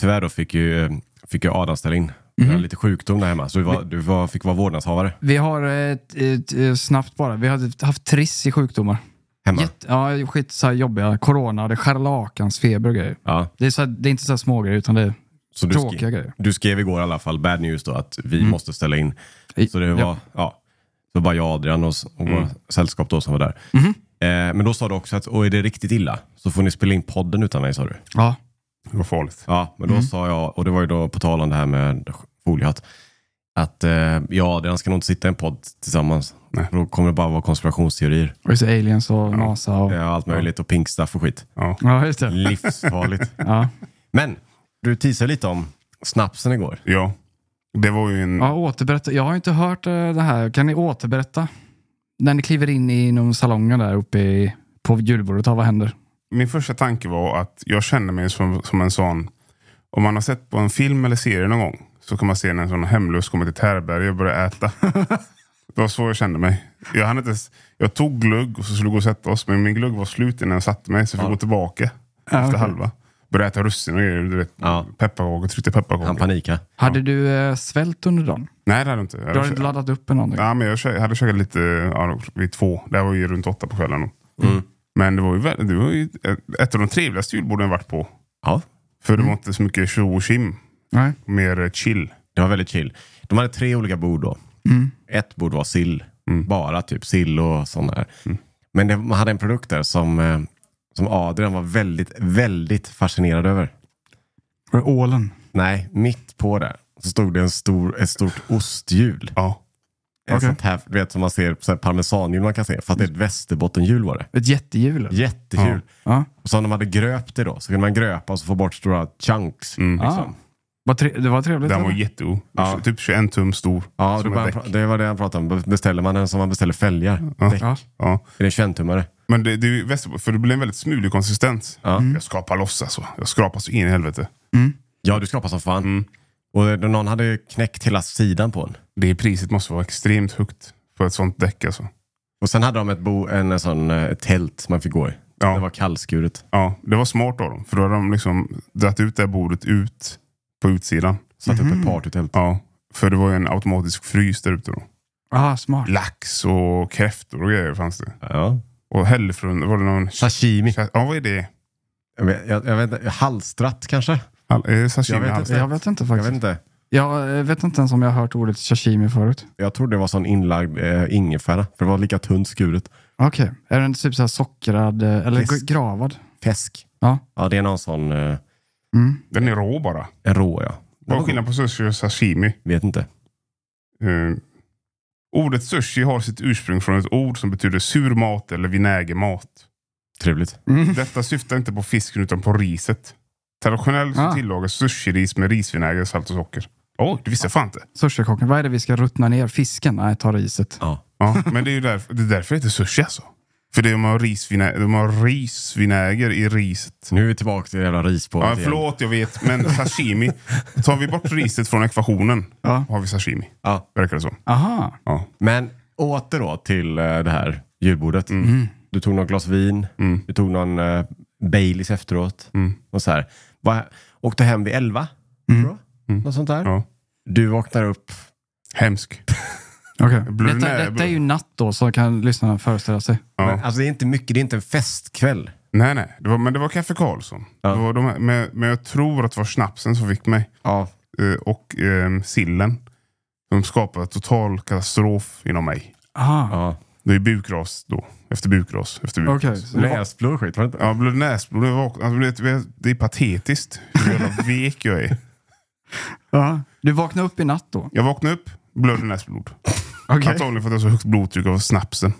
Speaker 2: Tyvärr då fick ju, eh, fick ju Adam ställa in. Jag hade lite sjukdom där hemma, så vi var, du var, fick vara vårdnadshavare
Speaker 3: Vi har, eh, ett, ett, eh, snabbt bara, vi har typ haft triss i sjukdomar.
Speaker 2: hemma.
Speaker 3: Jätte, ja, skit så här jobbiga. Corona, det är scharlakansfeber och grejer.
Speaker 2: Ja.
Speaker 3: Det är, så här, det är inte så här små grejer utan det är
Speaker 2: Så du,
Speaker 3: tråkiga
Speaker 2: skrev,
Speaker 3: grejer.
Speaker 2: du skrev igår i alla fall bad news då att vi måste ställa in.
Speaker 3: I-
Speaker 2: Så det var, ja. så bara jag och Adrian och, s- och våra sällskap då som var där. Eh, men då sa du också att, och är det riktigt illa så får ni spela in podden utan mig sa du.
Speaker 3: Ja.
Speaker 1: Det var farligt.
Speaker 2: Ja, men då sa jag, och det var ju då på tal om det här med foliehatt, att eh, jag och Adrian ska nog inte sitta i en podd tillsammans.
Speaker 1: Nej.
Speaker 2: För då kommer det bara vara konspirationsteorier
Speaker 3: Och så aliens och NASA och...
Speaker 2: eh, och allt möjligt och pink stuff och skit.
Speaker 1: Ja.
Speaker 3: Ja, just det.
Speaker 2: Livsfarligt.
Speaker 3: Ja,
Speaker 2: men du teasade lite om snapsen igår.
Speaker 1: ja. Det var ju en...
Speaker 3: ja återberätta. Jag har inte hört eh, det här. Kan ni återberätta? När ni kliver in i någon salongen där uppe i, på julbordet, ja, vad händer?
Speaker 1: Min första tanke var att jag känner mig som, som en sån... Om man har sett på en film eller serie någon gång så kan man se när en sån hemlös kommer till ett härbärge och börjar äta. Det var så jag kände mig. Jag, hann inte, ens- jag tog glögg och så skulle gå och sätta oss, men min glögg var slut innan jag satte mig. Så jag fick gå tillbaka efter
Speaker 3: okej.
Speaker 1: halva. Började äta russin och grejer. Du vet,
Speaker 2: Ja.
Speaker 1: pepparkakor, tryckte
Speaker 2: Han
Speaker 1: pepparkakor.
Speaker 2: panikade.
Speaker 3: Hade du eh, svält under dagen?
Speaker 1: Nej, det hade jag inte.
Speaker 3: Du hade inte laddat upp eller någonting?
Speaker 1: Ja, men jag kö- hade käkat lite ja, vid två. Det här var ju runt åtta på kvällen. då.
Speaker 2: Mm.
Speaker 1: Men det var ju, väldigt, det var ju ett- ett av de trevligaste julborden jag varit på.
Speaker 2: Ja,
Speaker 1: För
Speaker 2: Mm.
Speaker 1: det var inte så mycket tjo och tjim.
Speaker 3: Nej.
Speaker 1: Mer eh, chill.
Speaker 2: det var väldigt chill. De hade tre olika bord då. Ett bord var sill. Bara typ sill och sådana här. Men det, man hade en produkt där som, eh, som Adrian var väldigt, väldigt fascinerad över.
Speaker 3: Var det ålen?
Speaker 2: Nej, mitt på där så stod det en stor, ett stort osthjul.
Speaker 1: Ja.
Speaker 2: Ett
Speaker 3: Okej.
Speaker 2: sånt här, du vet som man ser, så här parmesanhjul man kan se. Fast det är ett västerbottenhjul var det.
Speaker 3: Ett jättehjul? eller?
Speaker 2: Jättekul.
Speaker 3: Ja.
Speaker 2: Och så om de hade gröpt det då, så kunde man gröpa och så få bort stora chunks.
Speaker 1: Mm.
Speaker 3: Ah. Vad tre- det var trevligt.
Speaker 1: Den var
Speaker 3: eller?
Speaker 1: jättegod.
Speaker 2: Ja.
Speaker 1: Typ 21 tum stor.
Speaker 2: Ja, det
Speaker 1: Som
Speaker 2: var,
Speaker 1: ett däck.
Speaker 2: det var det han pratade om. Beställer man den som man beställer fälgar? Däck.
Speaker 3: ja.
Speaker 1: Ja.
Speaker 2: Är det 21-tummare?
Speaker 1: Men det, det, är ju västerbot- för det blir en väldigt smulig konsistens.
Speaker 2: Ja.
Speaker 3: Mm.
Speaker 1: Jag skapar loss alltså. Jag skrapar så in i helvete.
Speaker 2: Ja, du skrapar som
Speaker 1: Mm.
Speaker 2: fan. Och det- någon hade knäckt hela sidan på den.
Speaker 1: Det priset måste vara extremt högt för ett sånt däck alltså.
Speaker 2: Och sen hade de ett, bo, en, en sån, eh, ett tält man fick gå i.
Speaker 1: Ja.
Speaker 2: Det var kallskuret.
Speaker 1: Ja, det var smart av dem. För då hade de liksom dragit ut det här bordet ut på utsidan.
Speaker 2: Satt upp ett partytält.
Speaker 1: Mm. Ja, för det var ju en automatisk frys där ute då.
Speaker 3: Ah, smart.
Speaker 1: Lax och kräftor och grejer fanns det.
Speaker 2: Ja.
Speaker 1: Och hällefrun, var det någon...
Speaker 2: Sashimi.
Speaker 1: Ja, vad är det?
Speaker 2: Jag vet, jag, jag vet inte, halstratt kanske?
Speaker 1: Hal- är det sashimi?
Speaker 2: Jag vet
Speaker 1: Halmstad?
Speaker 2: inte.
Speaker 3: Jag vet inte
Speaker 2: Jag
Speaker 3: faktiskt.
Speaker 2: vet inte.
Speaker 3: Jag eh, vet inte ens om jag har hört ordet sashimi förut.
Speaker 2: Jag trodde det var sån inlagd eh, ingefära. För det var lika tunt skuret.
Speaker 3: Okej. Är den typ så här sockrad eh, eller
Speaker 2: Fisk.
Speaker 3: gra- gravad?
Speaker 2: Fisk.
Speaker 3: Ja.
Speaker 2: Ja, det är någon sån eh,
Speaker 3: Mm.
Speaker 1: Den är rå bara.
Speaker 2: en rå ja.
Speaker 1: Vad är skillnaden på sushi och sashimi?
Speaker 2: Vet inte.
Speaker 1: Eh, ordet sushi har sitt ursprung från ett ord som betyder sur mat eller vinägermat.
Speaker 2: Trevligt.
Speaker 1: Detta syftar inte på fisken utan på riset. Traditionellt så
Speaker 3: Ah.
Speaker 1: tillagas sushiris med risvinäger, salt och socker. Åh, det visste jag fan inte.
Speaker 3: Sushikocken, vad är det vi ska ruttna ner? Fisken? Nej, ta riset.
Speaker 2: Ja.
Speaker 1: Ja, men det är ju därför det, är därför det heter sushi alltså. För det är, de, har risvinä- de har risvinäger i riset.
Speaker 2: Nu är vi tillbaka till det jävla rispålet
Speaker 1: Ja,
Speaker 2: igen.
Speaker 1: förlåt, jag vet, men sashimi. Tar vi bort riset från ekvationen
Speaker 3: Ja.
Speaker 1: har vi sashimi.
Speaker 2: Ja.
Speaker 1: Verkar det som.
Speaker 3: Aha.
Speaker 1: Ja.
Speaker 2: Men åter då till eh, det här julbordet.
Speaker 1: Mm.
Speaker 3: Mm.
Speaker 2: Du tog något glas vin. Du tog någon eh, Baileys efteråt.
Speaker 1: Mm.
Speaker 2: Och så här. Va, åkte hem vid elva.
Speaker 3: Mm.
Speaker 2: Tror jag. Något sånt där.
Speaker 1: Mm. Ja.
Speaker 2: Du vaknar upp.
Speaker 1: Hemsk.
Speaker 3: Okej.
Speaker 1: Blue
Speaker 3: Detta,
Speaker 1: Nile-
Speaker 3: detta är ju natt då, så kan lyssnarna föreställa sig.
Speaker 1: Ja.
Speaker 2: Men, alltså det är inte mycket. Det är inte en festkväll.
Speaker 1: Nej, nej. Det var, men det var Kaffe Karlsson.
Speaker 2: Ja.
Speaker 1: Det var de här, men, men jag tror att det var snapsen som fick mig.
Speaker 2: Ja.
Speaker 1: Eh, och ehm, sillen. Som skapade total katastrof inom mig.
Speaker 3: Aha.
Speaker 2: ja.
Speaker 1: Det är bukras då. Efter bukras. Efter bukras.
Speaker 3: Okej.
Speaker 2: Näsblod och skit. Var det inte?
Speaker 1: Ja, blev näsblod. Jag vaknade- Alltså, det, det är patetiskt hur jävla vek jag är.
Speaker 3: Ja. Du vaknade upp i natt då?
Speaker 1: Jag vaknade upp, blödde näsblod.
Speaker 3: Okej.
Speaker 1: Antagligen för att jag har så högt blodtryck av snapsen.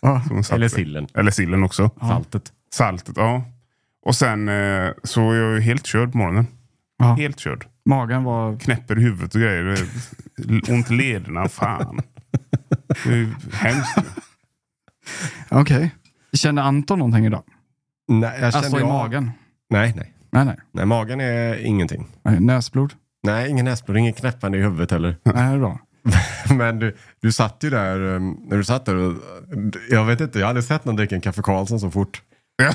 Speaker 3: Ja.
Speaker 1: som satt
Speaker 2: Eller
Speaker 1: sig.
Speaker 2: sillen.
Speaker 1: Eller sillen också.
Speaker 2: Saltet.
Speaker 1: Saltet, ja. Och sen eh, så är jag ju helt körd på morgonen.
Speaker 3: Ja.
Speaker 1: Helt körd.
Speaker 3: Magen var...
Speaker 1: Knäpper i huvudet och grejer. Det är Ont i lederna. Fan. Det är ju hemskt.
Speaker 3: Okej. Kände Anton någonting idag?
Speaker 2: Nej, jag
Speaker 3: Alltså i
Speaker 2: jag-
Speaker 3: magen?
Speaker 2: Nej, nej.
Speaker 3: Nej, nej.
Speaker 2: Nej, magen är ingenting.
Speaker 3: nej. Näsblod?
Speaker 2: Nej, ingen näsblod, ingen knäppande i huvudet heller.
Speaker 3: Nej, det är bra.
Speaker 2: Men du, du satt ju där, um, när du satt där, och- jag vet inte, jag hade aldrig sett någon dricka en kaffe Karlsson så fort.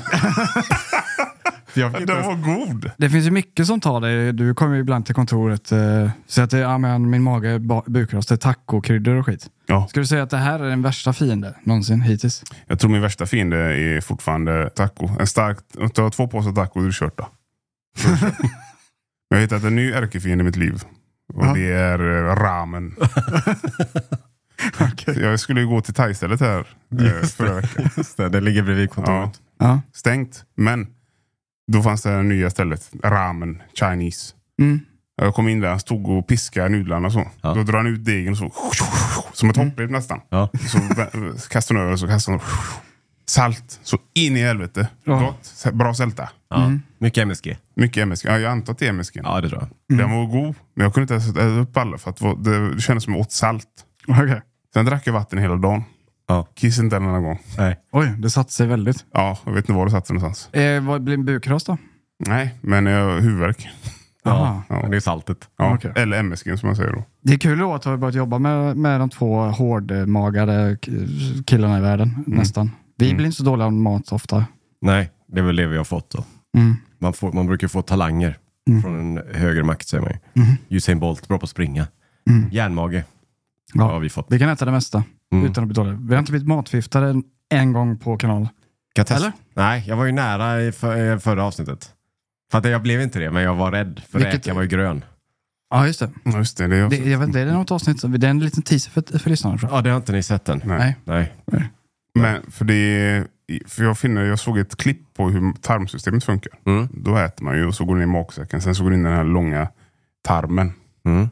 Speaker 2: För jag fick inte
Speaker 1: Den
Speaker 2: ens,
Speaker 1: var god.
Speaker 3: Det finns ju mycket som tar dig. Du kommer ju ibland till kontoret eh, säger att det, ja, men min mage är ba- bukras, det är tacokryddor och skit.
Speaker 1: Ja.
Speaker 3: Ska du säga att det här är den värsta fiende någonsin hittills?
Speaker 1: Jag tror min värsta fiende är fortfarande taco. En stark, om du har två påsar taco, då är du kört då. Då är du kört. Jag har hittat en ny ärkefiende i mitt liv. Och
Speaker 3: Ja.
Speaker 1: det är eh, ramen. Jag skulle ju gå till thaistället här eh, förra veckan.
Speaker 2: just det, det ligger bredvid kontoret.
Speaker 3: Ja.
Speaker 1: Stängt, men då fanns det här nya stället. Ramen Chinese.
Speaker 3: Mm.
Speaker 1: Jag kom in där, han stod och piskade nudlarna och så.
Speaker 2: Ja.
Speaker 1: Då drar han ut degen och så. Som
Speaker 3: Mm.
Speaker 1: ett hopprep nästan.
Speaker 2: Ja.
Speaker 1: Så vä- kastar hon över och så kastar hon. Salt. Så in i helvete.
Speaker 3: Ja.
Speaker 1: Gott. Bra sälta.
Speaker 2: Ja. Mycket MSG.
Speaker 1: Mycket MSG. Ja, jag antar att det är MSG.
Speaker 2: Ja, det tror jag.
Speaker 1: Den var god. Men jag kunde inte ens äta upp alla för att det var- det kändes som jag åt salt.
Speaker 3: Okej.
Speaker 1: Sen drack jag vatten hela dagen.
Speaker 2: Ja.
Speaker 1: Kiss inte en annan gång.
Speaker 2: Nej.
Speaker 3: Oj, det satte sig väldigt.
Speaker 1: Ja, jag vet inte var det satt sig någonstans.
Speaker 3: Eh, vad blir en bukras då?
Speaker 1: Nej, men jag har huvudvärk.
Speaker 3: Aha.
Speaker 2: Ja, det är saltet.
Speaker 1: Ja,
Speaker 3: Okej.
Speaker 1: Eller MSG som man säger då.
Speaker 3: Det är kul då att ha börjat jobba med, med de två hårdmagade k- killarna i världen, nästan. Vi blir inte så dåliga om mat så ofta.
Speaker 2: Nej, det är väl det vi har fått då.
Speaker 3: Mm.
Speaker 2: Man, får, man brukar få talanger från en högre makt säger man ju.
Speaker 3: Mm.
Speaker 2: Usain Bolt, bra på att springa. Järnmage
Speaker 3: Ja.
Speaker 2: har vi fått.
Speaker 3: Vi kan äta det mesta
Speaker 2: Mm.
Speaker 3: utan att bli dåliga. Vi har inte blivit matförgiftade en, en gång på kanalen.
Speaker 2: Kan jag testa?
Speaker 3: Eller?
Speaker 2: Nej, jag var ju nära i för, i förra avsnittet. För att jag blev inte det, men jag var rädd. För
Speaker 3: Vilket-
Speaker 2: räkan var ju grön.
Speaker 3: Ja, just det.
Speaker 1: Ja, Just det, det är jag
Speaker 3: det
Speaker 1: också.
Speaker 3: jag vet, inte, är det något avsnitt? som- Det är en liten teaser för, för lyssnarna tror jag.
Speaker 2: Ja, det har inte ni sett än.
Speaker 1: Nej.
Speaker 3: Nej.
Speaker 2: Nej.
Speaker 1: Men för det för jag, finner, jag såg ett klipp på hur tarmsystemet funkar.
Speaker 2: Mm.
Speaker 1: Då äter man ju och så går det in i magsäcken. Sen så går det in i den här långa tarmen.
Speaker 2: Mm.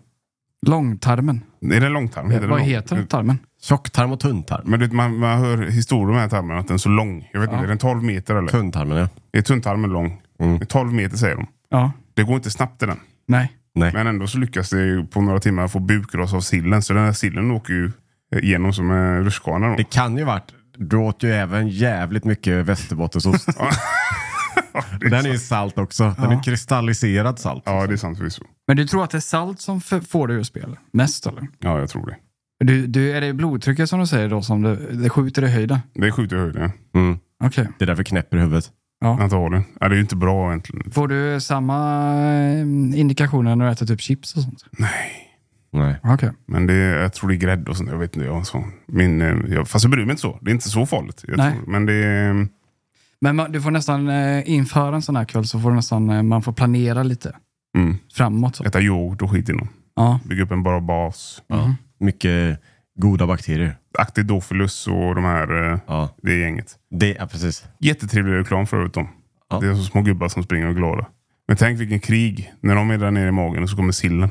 Speaker 3: Långtarmen.
Speaker 1: Är det långtarm? det
Speaker 3: Vad
Speaker 1: lång?
Speaker 3: heter den tarmen?
Speaker 2: Tjocktarm och tunntarm.
Speaker 1: Men du, vet, man, man hör historier om den här tarmen, att den är så lång. Jag vet inte, är den 12 meter eller?
Speaker 2: Tunntarmen ja.
Speaker 1: Är tunntarmen lång?
Speaker 2: Mm.
Speaker 1: Det är 12 meter säger de.
Speaker 3: Ja.
Speaker 1: Det går inte snabbt i den.
Speaker 3: Nej.
Speaker 2: Nej.
Speaker 1: Men ändå så lyckas det ju på några timmar få bukras av sillen. Så den här sillen åker ju eh, igenom som en rutschkana.
Speaker 2: Det
Speaker 1: då.
Speaker 2: kan ju varit, du åt ju även jävligt mycket västerbottensost. den är ju salt också. Den är kristalliserad salt.
Speaker 1: Ja, det är sant förvisso.
Speaker 3: Men du tror att det är salt som f- får dig ur spel? Mest eller?
Speaker 1: Ja, jag tror det.
Speaker 3: Du, du, är det blodtrycket som du säger då som det, det skjuter i höjden?
Speaker 1: Det skjuter i höjden.
Speaker 2: Mm.
Speaker 3: Okej.
Speaker 2: Det är därför knäpper i huvudet.
Speaker 1: Antagligen. Ja, det är ju inte bra egentligen.
Speaker 3: Får du samma eh, indikationer när du äter typ chips och sånt?
Speaker 2: Nej.
Speaker 3: Okej.
Speaker 1: Men det, jag tror det är grädde och sånt. Jag vet inte. Jag, har en sån. min, eh, jag, fast jag bryr mig inte så. Det är inte så farligt. Jag
Speaker 3: Nej.
Speaker 1: tror, men det är...
Speaker 3: Men man, du får nästan eh, inför en sån här kväll så får du nästan, eh, man får planera lite
Speaker 1: Mm,
Speaker 3: framåt. Så.
Speaker 1: äta yoghurt och skit inom.
Speaker 3: Ja.
Speaker 1: Bygga upp en bra bas.
Speaker 2: Ja. Mycket goda bakterier.
Speaker 1: Actidofilus och de här, eh,
Speaker 2: Ja,
Speaker 1: det gänget.
Speaker 2: det, ja precis.
Speaker 1: Jättetrevlig reklam för övrigt. de.
Speaker 2: Ja.
Speaker 1: Det är så små gubbar som springer och är glada. Men tänk vilken krig. När de är där nere i magen och så kommer sillen.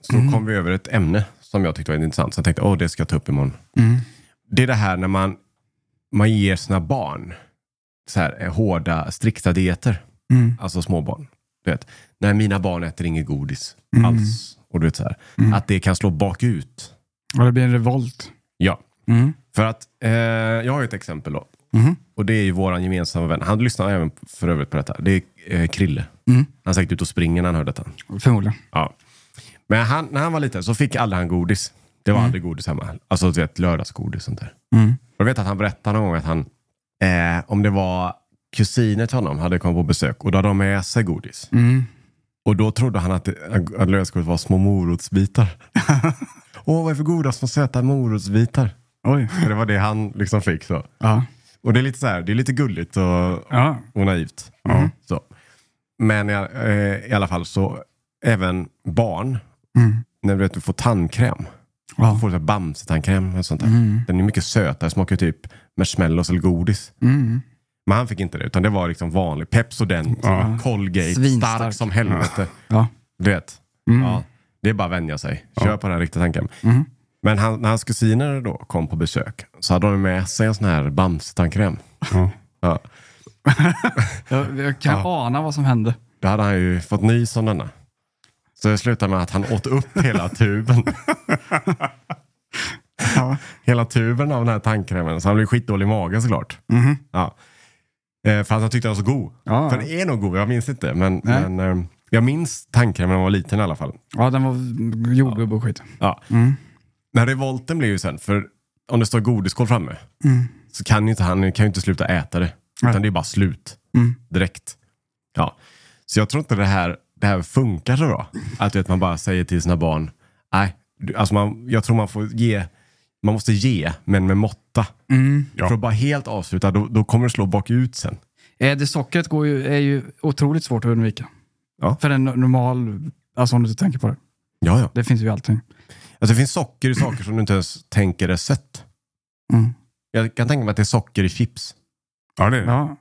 Speaker 2: så kom vi över ett ämne som jag tyckte var intressant. Så jag tänkte, åh det ska jag ta upp imorgon.
Speaker 1: Mm.
Speaker 2: Det är det här när man, man ger sina barn så här, eh, hårda, strikta dieter.
Speaker 1: Mm.
Speaker 2: Alltså småbarn. Du vet, när mina barn äter inget godis
Speaker 1: Mm.
Speaker 2: alls. Och du vet så här, att det kan slå bakut.
Speaker 3: Och det blir en revolt.
Speaker 2: Ja.
Speaker 3: Mm.
Speaker 2: För att, eh, jag har ju ett exempel då. Och det är ju våran gemensamma vän. Han lyssnar även för övrigt på detta. Det är eh, Krille.
Speaker 1: Mm.
Speaker 2: Han är säkert ute och springer när han hör detta.
Speaker 3: Förmodligen.
Speaker 2: Ja. Men han, när han var liten så fick aldrig han godis. Det var aldrig godis hemma. Alltså du vet, lördagsgodis och sånt där.
Speaker 3: Mm.
Speaker 2: Och jag vet att han berättade någon gång att han, eh, om det var kusiner till honom, hade kommit på besök och då hade de med sig godis.
Speaker 3: Mm.
Speaker 2: Och då trodde han att, det- att lördagsgodis var små morotsbitar. Åh, vad är för goda små söta morotsbitar?
Speaker 3: Oj.
Speaker 2: För det var det han liksom fick. Så.
Speaker 3: Ja.
Speaker 2: Och det är lite så här, det är lite gulligt och,
Speaker 3: Ja.
Speaker 2: och naivt.
Speaker 3: Mm.
Speaker 2: Så. Men i, eh, i alla fall så, även barn, när du, vet, du får tandkräm, du
Speaker 3: Mm. Ja. Mm.
Speaker 2: får så här bamsetandkräm och sånt där. Den är mycket sötare, smakar typ marshmallows eller godis.
Speaker 3: Mm.
Speaker 2: Men han fick inte det, utan det var liksom vanlig Pepsodent, Colgate,
Speaker 3: Svinstark.
Speaker 2: stark som helvete.
Speaker 3: Ja. Mm.
Speaker 2: Du vet, ja, det är bara att vänja sig. Kör på den här riktiga tanken. Men han, när hans kusiner då kom på besök så hade de med sig en sån här bamsetandkräm.
Speaker 1: Ja.
Speaker 2: Ja.
Speaker 3: Jag, jag kan ana vad som hände.
Speaker 2: Då hade han ju fått nys om denna. Så det slutade med att han åt upp hela tuben. Hela tuben av den här tandkrämen. Så han blev skitdålig i magen såklart. Ja. Eh, För att han tyckte den var så god.
Speaker 3: Mhm. Ja.
Speaker 2: För den är nog god, jag minns inte. Men,
Speaker 3: Nej.
Speaker 2: men, eh, Jag minns tankarna när man var liten i alla fall.
Speaker 3: Ja, den var jordgubb och skit.
Speaker 2: Ja.
Speaker 3: Mm.
Speaker 2: Men revolten blir ju sen, för om det står godisskål framme
Speaker 3: Mm.
Speaker 2: så kan ju inte han kan ju inte sluta äta det. Utan det är bara slut
Speaker 3: Mm.
Speaker 2: direkt. Ja. Så jag tror inte det här, det här funkar så bra. Att du vet, man bara säger till sina barn, nej, du- alltså man, jag tror man får ge, man måste ge, men med måtta.
Speaker 3: Mm.
Speaker 2: För att bara helt avsluta, då, då kommer det slå bakut sen.
Speaker 3: Eh, Det sockret går ju, är ju otroligt svårt att undvika.
Speaker 2: Ja.
Speaker 3: För en normal, alltså om du tänker på det.
Speaker 2: Ja, ja.
Speaker 3: Det finns ju i allting.
Speaker 2: Alltså det finns socker i saker som du inte ens tänker är sött.
Speaker 3: Mm.
Speaker 2: Jag kan tänka mig att det är socker i chips.
Speaker 1: Ja, det är det.
Speaker 3: Ja.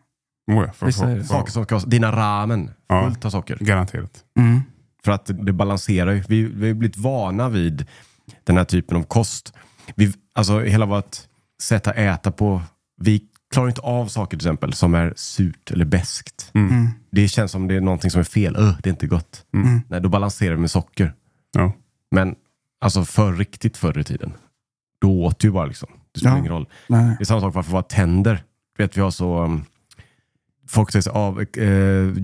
Speaker 1: Oh, ja, för,
Speaker 3: Visst är det.
Speaker 1: för,
Speaker 2: Saker som ska, dina ramen,
Speaker 1: Ja.
Speaker 2: fullt av socker.
Speaker 1: Garanterat.
Speaker 3: Mm.
Speaker 2: För att det balanserar ju. Vi, vi har blivit vana vid den här typen av kost. Vi, alltså hela vårt sätt att äta på. Vi klarar inte av saker till exempel som är surt eller beskt. Det känns som det är någonting som är fel. Öh, det är inte gott. Nej, då balanserar vi med socker.
Speaker 1: Ja.
Speaker 2: Men alltså för riktigt förr i tiden, då åt du bara liksom. Det spelar
Speaker 3: Ja.
Speaker 2: ingen roll.
Speaker 3: Nej.
Speaker 2: Det är samma sak varför våra tänder. Du vet, vi har så... um, Folk säger så, av, eh,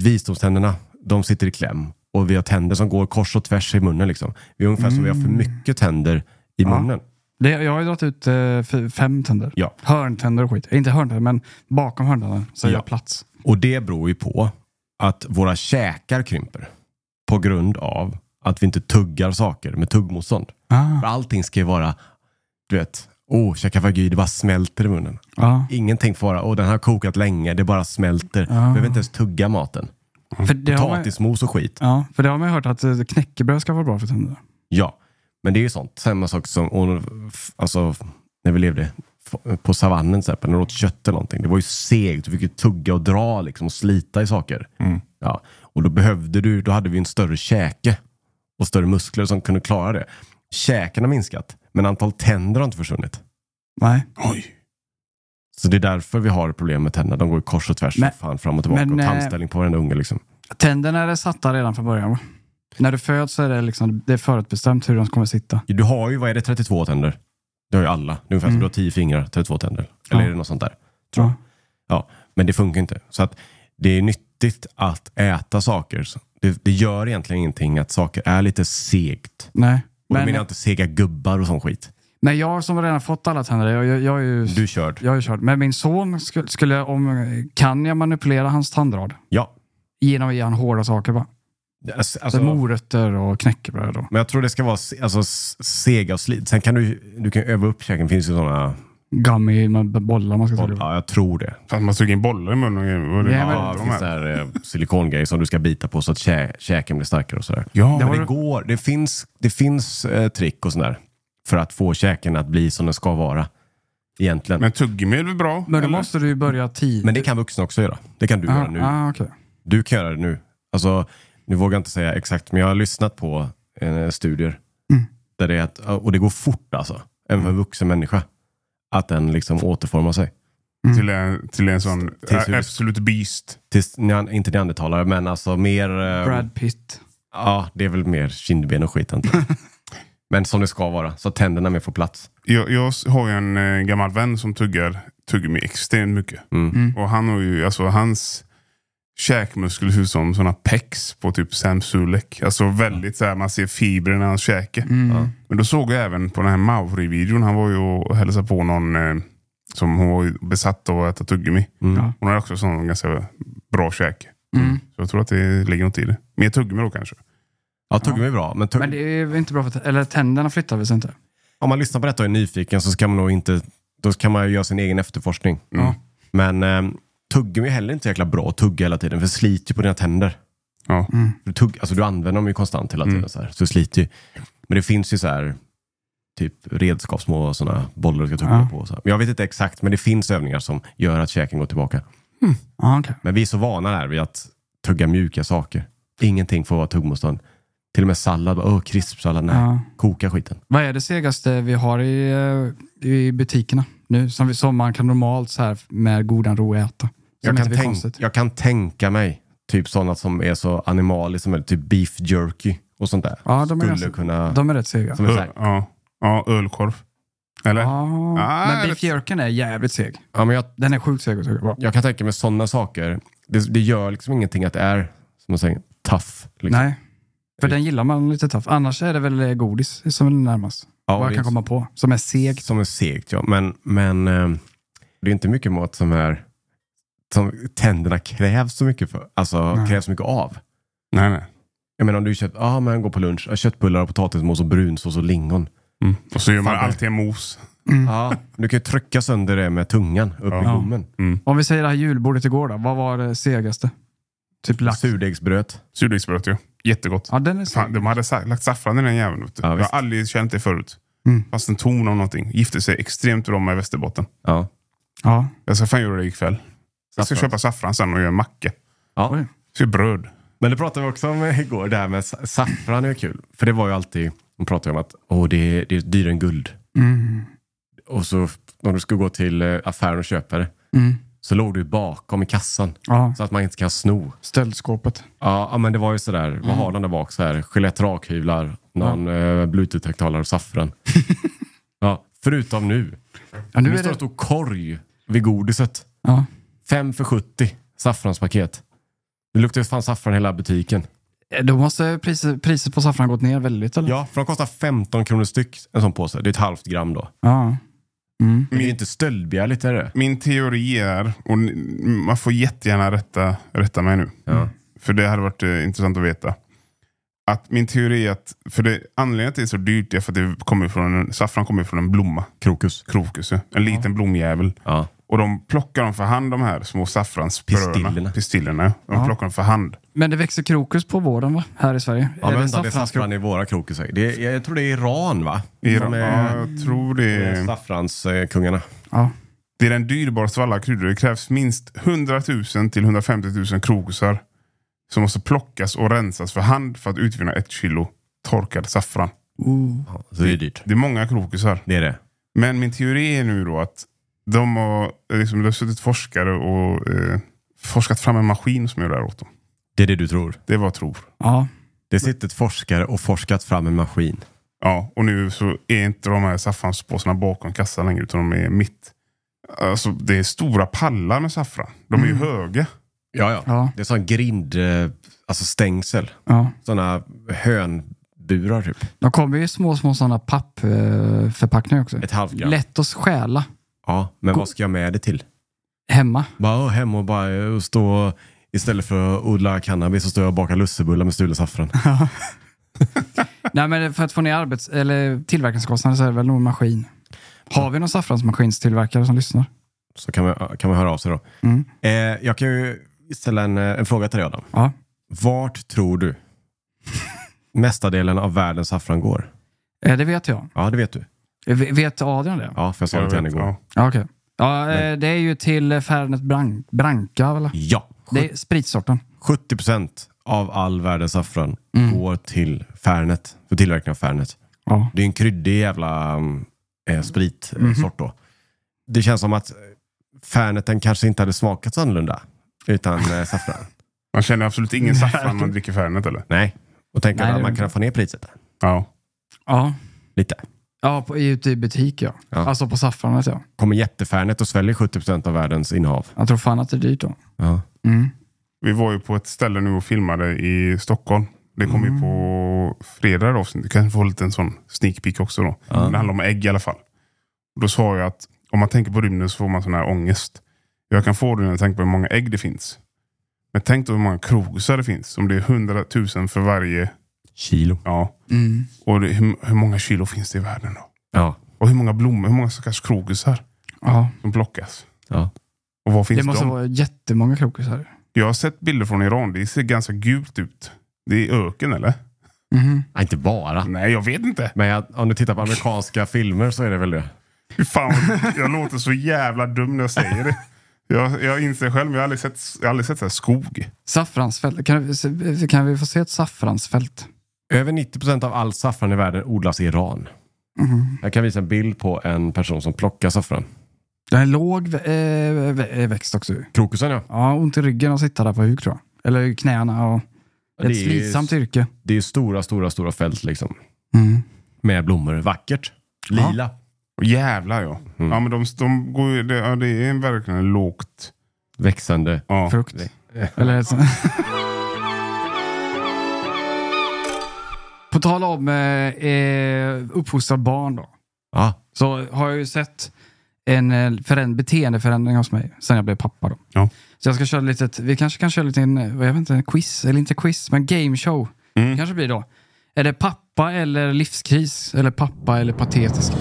Speaker 2: visdomständerna, de sitter i kläm. Och vi har tänder som går kors och tvärs i munnen. Liksom. Vi är ungefär som vi har för mycket tänder i munnen.
Speaker 3: Det, jag har ju dragit ut eh, fy- fem tänder.
Speaker 2: Ja.
Speaker 3: Hörntänder och skit. Eh, Inte hörntänder, men bakom hörntänderna så är
Speaker 2: Ja.
Speaker 3: jag plats.
Speaker 2: Och det beror ju på att våra käkar krymper. På grund av att vi inte tuggar saker med tuggmotstånd. För allting ska ju vara, du vet, åh, käka fagy, det bara smälter i munnen.
Speaker 3: Ja.
Speaker 2: Ingenting får vara, åh, den här har kokat länge, det bara smälter. Behöver inte ens tugga maten.
Speaker 3: Mm. För det har man,
Speaker 2: Potatismos och skit.
Speaker 3: ja, för det har man ju hört att eh, knäckebröd ska vara bra för tänderna.
Speaker 2: Ja, men det är ju sånt. Samma sak som och, alltså, när vi levde f- på savannen, till exempel, när du åt kött eller någonting. Det var ju segt, du fick ju tugga och dra liksom, och slita i saker.
Speaker 3: Mm.
Speaker 2: Ja, och då behövde du, då hade vi en större käke och större muskler som kunde klara det. Käken har minskat, men antal tänder har inte försvunnit.
Speaker 3: Nej.
Speaker 1: Oj.
Speaker 2: Så det är därför vi har problem med tänderna. De går ju kors och tvärs,
Speaker 3: Men-
Speaker 2: fan, fram och tillbaka.
Speaker 3: men,
Speaker 2: och
Speaker 3: eh,
Speaker 2: tandställning på varenda unge. Liksom.
Speaker 3: Tänderna är satta redan från början va? När du föds så är det, liksom, det är förutbestämt hur de kommer sitta.
Speaker 2: Du har ju, vad är det, 32 tänder? Det har ju alla. Det är ungefär som
Speaker 3: Mm.
Speaker 2: du har 10 fingrar, 32 tänder. Eller
Speaker 3: Ja.
Speaker 2: är det något sånt där? Tror
Speaker 3: Ja.
Speaker 2: Ja, men det funkar inte. Så att det är nyttigt att äta saker. Så Det, det gör egentligen ingenting att saker är lite segt.
Speaker 3: Nej.
Speaker 2: Och då menar jag
Speaker 3: Men,
Speaker 2: inte sega gubbar och sån skit.
Speaker 3: men jag som redan fått alla tänder, jag, jag, jag är ju...
Speaker 2: Du är körd.
Speaker 3: Jag har ju kört. Men min son, skulle, skulle jag, om, kan jag manipulera hans tandrad?
Speaker 2: Ja.
Speaker 3: Genom att ge han hårda saker bara.
Speaker 2: Alltså,
Speaker 3: Så
Speaker 2: alltså,
Speaker 3: morötter och knäckebröd. Och
Speaker 2: men jag tror det ska vara se- alltså, s- sega och slit. Sen kan du, du kan öva upp käken. Finns ju sådana
Speaker 3: gummy med bollar man ska tugga på.
Speaker 2: Ja, jag tror det.
Speaker 1: Fast man suger in bollar i munnen och grejer. Vad är det?
Speaker 3: Ja, men-
Speaker 2: Ja, det finns
Speaker 1: de här.
Speaker 2: där, eh, silikongrejer som du ska bita på så att kä- käken blir starkare och sådär.
Speaker 1: Ja,
Speaker 2: Men
Speaker 1: men
Speaker 2: det går. Det finns, det finns eh, trick och sådär. För att få käken att bli som den ska vara. Egentligen.
Speaker 1: Men tuggummi är väl bra?
Speaker 3: Men då
Speaker 1: eller?
Speaker 3: måste du ju börja tidigt.
Speaker 2: Men det kan vuxna också göra. Det kan du
Speaker 3: ah,
Speaker 2: göra nu.
Speaker 3: ah, okej.
Speaker 2: Du kan göra det nu. Alltså, nu vågar jag inte säga exakt, men jag har lyssnat på eh, studier.
Speaker 3: Mm.
Speaker 2: Där det är att, och det går fort alltså. Även för en vuxen människa. Att den liksom återformar sig.
Speaker 3: Mm.
Speaker 1: Till en, till en sån
Speaker 2: Tills hur-
Speaker 1: absolut beast.
Speaker 2: Tills, nean- inte neandertalare, men alltså mer... eh,
Speaker 3: Brad Pitt.
Speaker 2: Ja, det är väl mer kindben och skit. antar jag. men som det ska vara. Så att tänderna mer får plats.
Speaker 1: Jag, jag har ju en eh, gammal vän som tuggar tuggummi extremt mycket. Och han har ju, alltså hans käkmuskler ser ut som sådana pex på typ Sam Sulek. Alltså väldigt så här, man ser fibrerna i hans käke.
Speaker 3: Mm.
Speaker 2: Mm.
Speaker 1: Men då såg jag även på den här Mauri-videon, han var ju och hälsade på någon eh, som hon var ju besatt av att äta tuggummi.
Speaker 2: Mm.
Speaker 3: Ja.
Speaker 1: Hon har också sån ganska bra käke.
Speaker 3: Mm.
Speaker 1: Så jag tror att det ligger något i det. Mer tuggummi då kanske.
Speaker 2: Ja, tuggummi är bra. Men, tugg...
Speaker 3: Men det är ju inte bra för t- Eller tänderna flyttar väl sig inte?
Speaker 2: om man lyssnar på detta och är nyfiken så ska man nog inte... Då kan man ju göra sin egen efterforskning.
Speaker 1: Ja.
Speaker 2: Men eh, tuggummi är heller inte så jäkla bra att tugga hela tiden. För det sliter ju på dina tänder.
Speaker 1: Ja.
Speaker 3: Mm.
Speaker 2: Du, tugg, alltså du använder dem ju konstant hela tiden. Så, här, så det sliter ju. Men det finns ju så här typ redskap, små sådana bollar du ska tugga
Speaker 3: Ja.
Speaker 2: på. och Så här. Men jag vet inte exakt, men det finns övningar som gör att käken går tillbaka.
Speaker 3: Ja, Ah, okej.
Speaker 2: Men vi är så vana där vid att tugga mjuka saker. Ingenting får vara tuggmotstånd. Till och med sallad, bara, åh, krispsallad, nej.
Speaker 3: Ja.
Speaker 2: Koka skiten.
Speaker 3: Vad är det segaste vi har i, eh, i butikerna nu? Som, vi, som man kan normalt så här med godan ro äta. Som
Speaker 2: Jag
Speaker 3: inte
Speaker 2: kan,
Speaker 3: blir
Speaker 2: tänk,
Speaker 3: konstigt.
Speaker 2: jag kan tänka mig typ sådana som är så animaliska, som är typ beef jerky och sånt där.
Speaker 3: Ja, alltså- de är,
Speaker 2: Skulle
Speaker 3: ganska-
Speaker 2: kunna...
Speaker 3: de är rätt sega.
Speaker 2: som är så här,
Speaker 1: Öl, ja. ja, ölkorv. Eller?
Speaker 3: Ja,
Speaker 1: Ah,
Speaker 3: men
Speaker 1: rätt-
Speaker 3: beef jerkyn är jävligt seg.
Speaker 2: ja, men jag,
Speaker 3: Den är sjukt seg att tugga på.
Speaker 2: jag kan tänka mig sådana saker. Det, det gör liksom ingenting att det är, som man säger, tough. Liksom.
Speaker 3: Nej. För den gillar man lite tuff. Annars är det väl eh, godis som är närmast.
Speaker 2: Ja,
Speaker 3: vad
Speaker 2: det
Speaker 3: jag
Speaker 2: är
Speaker 3: kan
Speaker 2: inte-
Speaker 3: komma på. Som är segt.
Speaker 2: Som är segt, ja. Men, men eh, det är inte mycket mat som är som tänderna krävs så mycket för. Alltså
Speaker 3: Nej.
Speaker 2: krävs så mycket av.
Speaker 1: Nej, nej.
Speaker 2: Jag menar om du köpt, ah, men går på lunch, ah, köttbullar och potatismos och brunsås och lingon.
Speaker 1: Mm. Och så gör man
Speaker 2: Fan, det-
Speaker 1: alltid en mos.
Speaker 3: Mm.
Speaker 2: Ja, du kan ju trycka sönder det med tungan upp i
Speaker 1: Ja.
Speaker 2: gommen.
Speaker 1: Mm.
Speaker 3: Om vi säger det här julbordet igår då. Vad var det segaste? Typ lax.
Speaker 2: Surdegsbröt.
Speaker 1: Surdegsbröt ju. Jättegott.
Speaker 3: Ja, den är seg.
Speaker 1: Fan, de hade sa- lagt saffran i den jäveln. vet du.
Speaker 2: Ja,
Speaker 1: jag
Speaker 2: visst.
Speaker 1: har aldrig känt det förut.
Speaker 3: Mm.
Speaker 1: Fast en ton av någonting. Gifte sig extremt bra med Västerbotten.
Speaker 2: Ja.
Speaker 3: Ja.
Speaker 1: Jag ska fan göra det ikväll. Jag ska
Speaker 2: Saffran.
Speaker 1: köpa saffran sen och göra en macka.
Speaker 2: Ja.
Speaker 3: Oj.
Speaker 1: Jag ska göra bröd.
Speaker 2: Men det pratade vi också om igår, det här med sa- saffran är ju kul. För det var ju alltid, de pratade ju om att åh, det, är, det är dyrare än guld.
Speaker 3: Mm.
Speaker 2: Och så när du skulle gå till eh, affären och köpa det
Speaker 3: Mm.
Speaker 2: så låg du bakom i kassan.
Speaker 3: Ja.
Speaker 2: Så att man inte kan sno.
Speaker 3: Stöldskåpet.
Speaker 2: Ja, ja, men det var ju sådär, vad har de där bak? Så här, Gillette rakhyvlar, någon eh, bluetooth-högtalare och saffran. ja, förutom nu.
Speaker 3: Ja,
Speaker 2: Nu,
Speaker 3: nu
Speaker 2: står
Speaker 3: är
Speaker 2: det
Speaker 3: det...
Speaker 2: en stor korg vid godiset.
Speaker 3: Ja.
Speaker 2: 5 för 70 saffranspaket. Det luktar ju fan saffran i hela butiken.
Speaker 3: Eh, Då måste priset, priset på saffran gått ner väldigt eller?
Speaker 2: Ja, för de kostar 15 kronor styck, en sån påse. Det är ett halvt gram då.
Speaker 3: Ja. Mm.
Speaker 2: Men det är ju inte stöldbegärligt, är det?
Speaker 1: Min teori är, och ni- man får jättegärna rätta, rätta mig nu. Mm.
Speaker 2: Ja.
Speaker 1: För det hade varit eh, intressant att veta. Att min teori är att, för det, anledningen till att det är så dyrt är för att det kommer från en, saffran kommer från en blomma.
Speaker 2: Krokus.
Speaker 1: Krokus, ja. en liten blomjävel.
Speaker 2: Ja.
Speaker 1: Och de plockar dem för hand de här små saffransfröerna.
Speaker 2: Pistillerna.
Speaker 1: Pistillerna. ja. De
Speaker 3: Ja.
Speaker 1: plockar dem för hand.
Speaker 3: Men det växer krokus på våren va? Här i Sverige.
Speaker 2: Ja,
Speaker 3: Är
Speaker 2: men
Speaker 3: det
Speaker 2: vänta, det är
Speaker 3: saffranskro-
Speaker 2: saffran i våra krokusar. Det är, jag tror det är Iran, va?
Speaker 1: I,
Speaker 2: Som
Speaker 1: ja,
Speaker 2: är,
Speaker 1: jag tror det
Speaker 2: är
Speaker 1: är,
Speaker 2: saffranskungarna.
Speaker 3: Ja.
Speaker 1: det är den dyrbaraste av alla kryddor. Det krävs minst 100 000 till 150 000 krokusar som måste plockas och rensas för hand för att utvinna ett kilo torkad saffran.
Speaker 3: Ooh.
Speaker 2: Ja, så det är dyrt.
Speaker 1: Det är många krokusar.
Speaker 2: Det är det.
Speaker 1: Men min teori är nu då att de har, liksom, det har suttit forskare och eh, forskat fram en maskin som gör det här åt dem.
Speaker 2: Det är det du tror.
Speaker 1: Det är vad jag tror.
Speaker 3: Ja.
Speaker 2: Det sitter ett forskare och forskat fram en maskin.
Speaker 1: Ja, och nu så är inte de här saffranspåsarna bakom kassan längre, utan de är mitt. Alltså, det är stora pallar med saffran. De är ju höga.
Speaker 2: Ja, ja.
Speaker 3: Ja.
Speaker 2: Det är sån grind, eh, alltså stängsel.
Speaker 3: ja.
Speaker 2: Såna hönburar typ.
Speaker 3: De kommer ju i små, små sådana pappförpackningar också.
Speaker 2: Ett halvt gram.
Speaker 3: Lätt att stjäla
Speaker 2: Ja, men
Speaker 3: Go-
Speaker 2: vad ska jag med det till?
Speaker 3: hemma.
Speaker 2: Bara ö, hem och bara ö, och stå istället för att odla cannabis så står jag och bakar lussebullar med stulen saffran.
Speaker 3: Nej, men för att få ner arbets eller tillverkningskostnader så är det väl nog en maskin. Har vi någon saffransmaskinstillverkare som lyssnar?
Speaker 2: Så kan man, kan man höra av sig då.
Speaker 3: Mm.
Speaker 2: Eh, jag kan ju ställa en, eh, en fråga till dig Adam.
Speaker 3: Ja.
Speaker 2: Vart tror du mestadelen av världens saffran går?
Speaker 3: Eh, Det vet jag.
Speaker 2: Ja, det vet du.
Speaker 3: Eh, v- Vet Adrian det?
Speaker 2: Ja, för jag sa
Speaker 1: Jag
Speaker 2: det till henne
Speaker 1: vet,
Speaker 2: igår.
Speaker 1: ja.
Speaker 3: Ja, okej. Ja, eh, det är ju till eh, Fernet Bran- Branca, eller?
Speaker 2: Ja,
Speaker 3: Det är spritsorten.
Speaker 2: 70 procent av all världens saffran går till Fernet, för tillverkning av Fernet.
Speaker 3: Ja.
Speaker 2: Det är en kryddig jävla mm, eh, spritsort då. Det känns som att Ferneten kanske inte hade smakats annorlunda utan eh, saffran.
Speaker 1: Man känner absolut ingen saffran när man dricker Fernet eller?
Speaker 2: Nej, och tänker
Speaker 3: Nej,
Speaker 2: att
Speaker 3: det-
Speaker 2: man kan få ner priset där.
Speaker 1: Ja.
Speaker 3: Ja,
Speaker 2: lite.
Speaker 3: ja på, ute i butik ja.
Speaker 2: Ja.
Speaker 3: Alltså på saffranet ja.
Speaker 2: Kommer jättefernet och sväljer 70 av världens innehav.
Speaker 3: Jag tror fan att det är dyrt då.
Speaker 2: Ja.
Speaker 3: Mm.
Speaker 1: Vi var ju på ett ställe nu och filmade i Stockholm. Det kom
Speaker 3: Mm.
Speaker 1: ju på fredag. Då, så du kan få lite en sån sneak peek också. Då. Det handlar om ägg i alla fall. Då sa jag att om man tänker på rymden så får man sån här ångest. Jag kan få det när jag tänker på hur många ägg det finns. Men tänk då hur många krogusar det finns. Om det är 100 000 för varje.
Speaker 2: Kilo.
Speaker 1: Ja.
Speaker 3: Mm.
Speaker 1: Och det, hur, hur många kilo finns det i världen då?
Speaker 2: Ja.
Speaker 1: Och hur många blommor, hur många stackars krogusar
Speaker 3: Ja.
Speaker 1: som plockas?
Speaker 2: ja.
Speaker 1: Och var finns
Speaker 3: Det måste
Speaker 1: de?
Speaker 3: vara jättemånga krokus här.
Speaker 1: Jag har sett bilder från Iran. Det ser ganska gult ut. Det är öken eller?
Speaker 3: Mhm.
Speaker 2: Nej, inte bara.
Speaker 1: Nej, jag vet inte.
Speaker 2: Men jag, om du tittar på amerikanska filmer så är det väl det.
Speaker 1: Fy Fan, jag låter så jävla dum när jag säger det. Jag, jag inser själv, men jag har aldrig sett, jag har aldrig sett så här skog.
Speaker 3: Saffransfält. Kan, vi- kan vi få se ett saffransfält?
Speaker 2: Över 90 av all saffran i världen odlas i Iran. Jag kan visa en bild på en person som plockar saffran.
Speaker 3: Det är en låg vä- eh, vä- eh, växt också.
Speaker 2: Krokusen ja.
Speaker 3: Ja, ont i ryggen att sitta där på huk tror jag. Eller i knäna. Och
Speaker 2: Det
Speaker 3: ett
Speaker 2: är-
Speaker 3: slitsamt yrke.
Speaker 2: Det är ju stora, stora, stora fält liksom.
Speaker 3: Mm.
Speaker 2: Med blommor. Vackert. Lila.
Speaker 1: Och jävlar ja. Ja, men de, de går ju, det, ja, det är verkligen lågt.
Speaker 2: Växande.
Speaker 1: Ja.
Speaker 3: Frukt. Eller ett sånt- På tal om eh, eh, uppfostra barn då.
Speaker 2: Ja.
Speaker 3: Så har jag ju sett en eh, föränd- beteendeförändring hos mig sen jag blev pappa. Då.
Speaker 1: Ja.
Speaker 3: Så jag ska köra lite, vi kanske kan köra lite en, eh, jag vet inte, en quiz, eller inte quiz, men game show. Det kanske blir då. Är det pappa eller livskris? Eller pappa eller patetisk?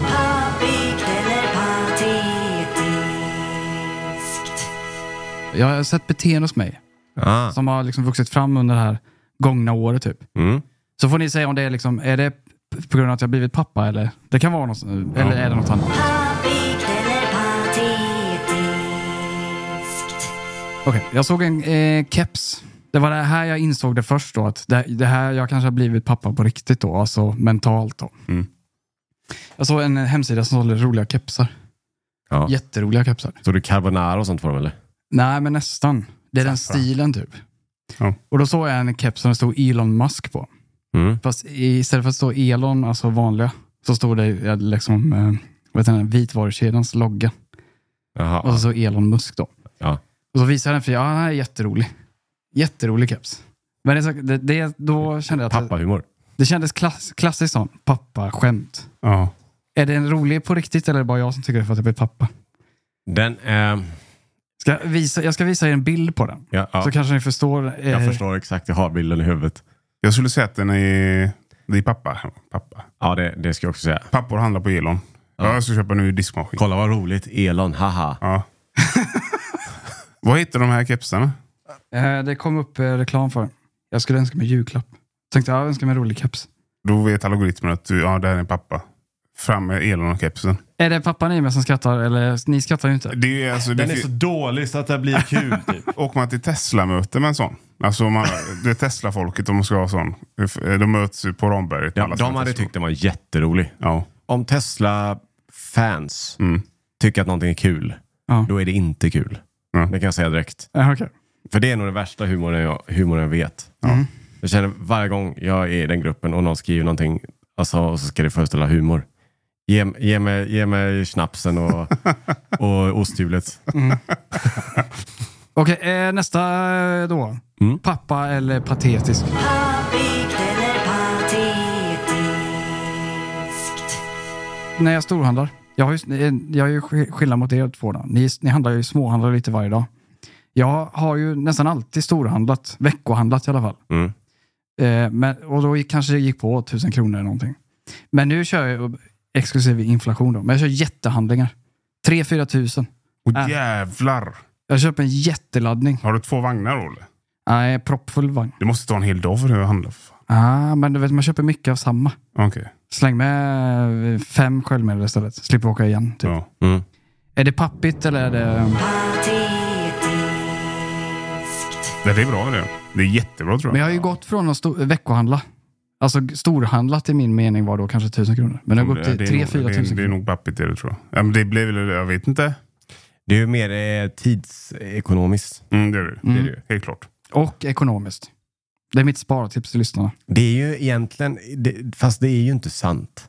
Speaker 3: Jag har sett beteende hos mig
Speaker 2: Ah.
Speaker 3: som har liksom vuxit fram under det här gångna året. Typ.
Speaker 2: Mm.
Speaker 3: Så får ni säga om det är, liksom, är det p- på grund av att jag har blivit pappa eller det kan vara något, eller är det något annat. Okej, jag såg en eh, keps. Det var det här jag insåg det först då, att det, det här, jag kanske har blivit pappa på riktigt då, alltså mentalt då.
Speaker 1: Mm.
Speaker 3: Jag såg en hemsida som sålde roliga kepsar.
Speaker 2: Ja.
Speaker 3: Jätteroliga kepsar.
Speaker 2: Såg du carbonara och sånt på dem eller?
Speaker 3: Nej, men nästan. Det är den
Speaker 1: Saffran.
Speaker 3: stilen typ.
Speaker 1: Ja.
Speaker 3: Och då såg jag en keps som det stod Elon Musk på.
Speaker 2: Mm.
Speaker 3: Fast i- istället för att stå Elon, alltså vanliga, så stod det eh, liksom eh, vad heter den, vitvarukedjans logga.
Speaker 2: Jaha.
Speaker 3: Och så Elon Musk då.
Speaker 2: Ja.
Speaker 3: Och så visade jag den för ja, den här är jätterolig. Jätterolig keps. Men det, är så- det, det, då kände jag att det,
Speaker 2: Pappahumor.
Speaker 3: det kändes klass, klassiskt sån pappa-skämt.
Speaker 1: Ja.
Speaker 3: Är den rolig på riktigt eller är det bara jag som tycker det för att jag blir pappa?
Speaker 2: Den eh, är...
Speaker 3: Ska jag, visa, jag ska visa er en bild på den.
Speaker 2: Ja, ja.
Speaker 3: Så kanske ni förstår. eh,
Speaker 2: Jag förstår exakt, jag har bilden i huvudet.
Speaker 1: Jag skulle säga att den är, det är pappa. pappa.
Speaker 2: Ja, det, det ska jag också säga.
Speaker 1: Pappor handlar på Elon. Ja. jag ska köpa en ny diskmaskin.
Speaker 2: Kolla vad roligt, Elon, haha.
Speaker 1: Ja. Vad heter de här kepsarna?
Speaker 3: Eh, det kom upp eh, reklam för den. Jag skulle önska mig julklapp. Tänkte jag önskar mig en rolig keps.
Speaker 1: Då vet algoritmen att du, ja, det här är pappa. Fram med Elon och kepsen.
Speaker 3: Är det pappan i mig som skrattar? Eller ni skrattar ju inte.
Speaker 1: Det är, ju alltså, det
Speaker 2: Den är
Speaker 1: fi-
Speaker 2: så dålig så att det blir kul. Typ.
Speaker 1: Åker man till Tesla-möte med en sån? Alltså man, det är Tesla-folket om man ska ha sån. De möts ju på Ramberget.
Speaker 2: ja,
Speaker 1: alla som
Speaker 2: de
Speaker 1: är
Speaker 2: hade
Speaker 1: Tesla.
Speaker 2: tyckt den var jätterolig.
Speaker 1: Ja.
Speaker 2: Om Tesla-fans
Speaker 1: Mm.
Speaker 2: tycker att någonting är kul,
Speaker 3: Ja.
Speaker 2: då är det inte kul.
Speaker 1: Ja.
Speaker 2: Det kan jag säga direkt.
Speaker 3: Eh, okej.
Speaker 2: För det är nog den värsta humorn jag, humorn jag vet. Jag känner varje gång jag är i den gruppen och någon skriver någonting alltså, och så ska det föreställa humor. Ge, ge, mig, ge mig snapsen och, och osthjulet.
Speaker 3: Okej, eh, nästa eh, då.
Speaker 2: Mm.
Speaker 3: Pappa eller patetisk? När jag storhandlar. Jag, har ju, eh, jag är ju sk- skillnad mot er två. Då. Ni, ni handlar ju småhandlar lite varje dag. Jag har ju nästan alltid storhandlat. Veckohandlat i alla fall.
Speaker 2: Mm.
Speaker 3: Eh, men, och då gick- kanske det gick på tusen kronor eller någonting. Men nu kör jag ju- exklusive inflation då. Men jag kör jättehandlingar. 3-4 tusen.
Speaker 1: Och
Speaker 3: Ja.
Speaker 1: jävlar!
Speaker 3: Jag köper en jätteladdning.
Speaker 1: Har du två vagnar då eller?
Speaker 3: Nej, proppfull vagn.
Speaker 1: Du måste ta en hel dag för att handla. för fan.
Speaker 3: Ah, men du vet, man köper mycket av samma.
Speaker 1: Okej.
Speaker 3: Släng med eh, fem sköljmedel istället. Slipper åka igen. Typ.
Speaker 1: Ja.
Speaker 2: Mm.
Speaker 3: Är det pappigt eller är det...
Speaker 1: Det är bra det. Det är jättebra tror jag.
Speaker 3: Men jag har ju gått från att sto- veckohandla. Alltså g- storhandlat i min mening var då kanske tusen kronor. Men det har gått
Speaker 1: Det
Speaker 3: till
Speaker 1: är
Speaker 3: tre
Speaker 1: nog-
Speaker 3: fyra
Speaker 1: det är-
Speaker 3: tusen
Speaker 1: Det är
Speaker 3: kronor.
Speaker 1: nog pappigt det du tror. jag. Ja, men det blir väl, jag vet inte.
Speaker 2: Det är ju mer eh, tidsekonomiskt.
Speaker 1: Mm, det är det.
Speaker 3: Mm.
Speaker 1: det, är det. Helt klart.
Speaker 3: Och ekonomiskt. Det är mitt spartips till lyssnarna.
Speaker 2: Det är ju egentligen, det, fast det är ju inte sant.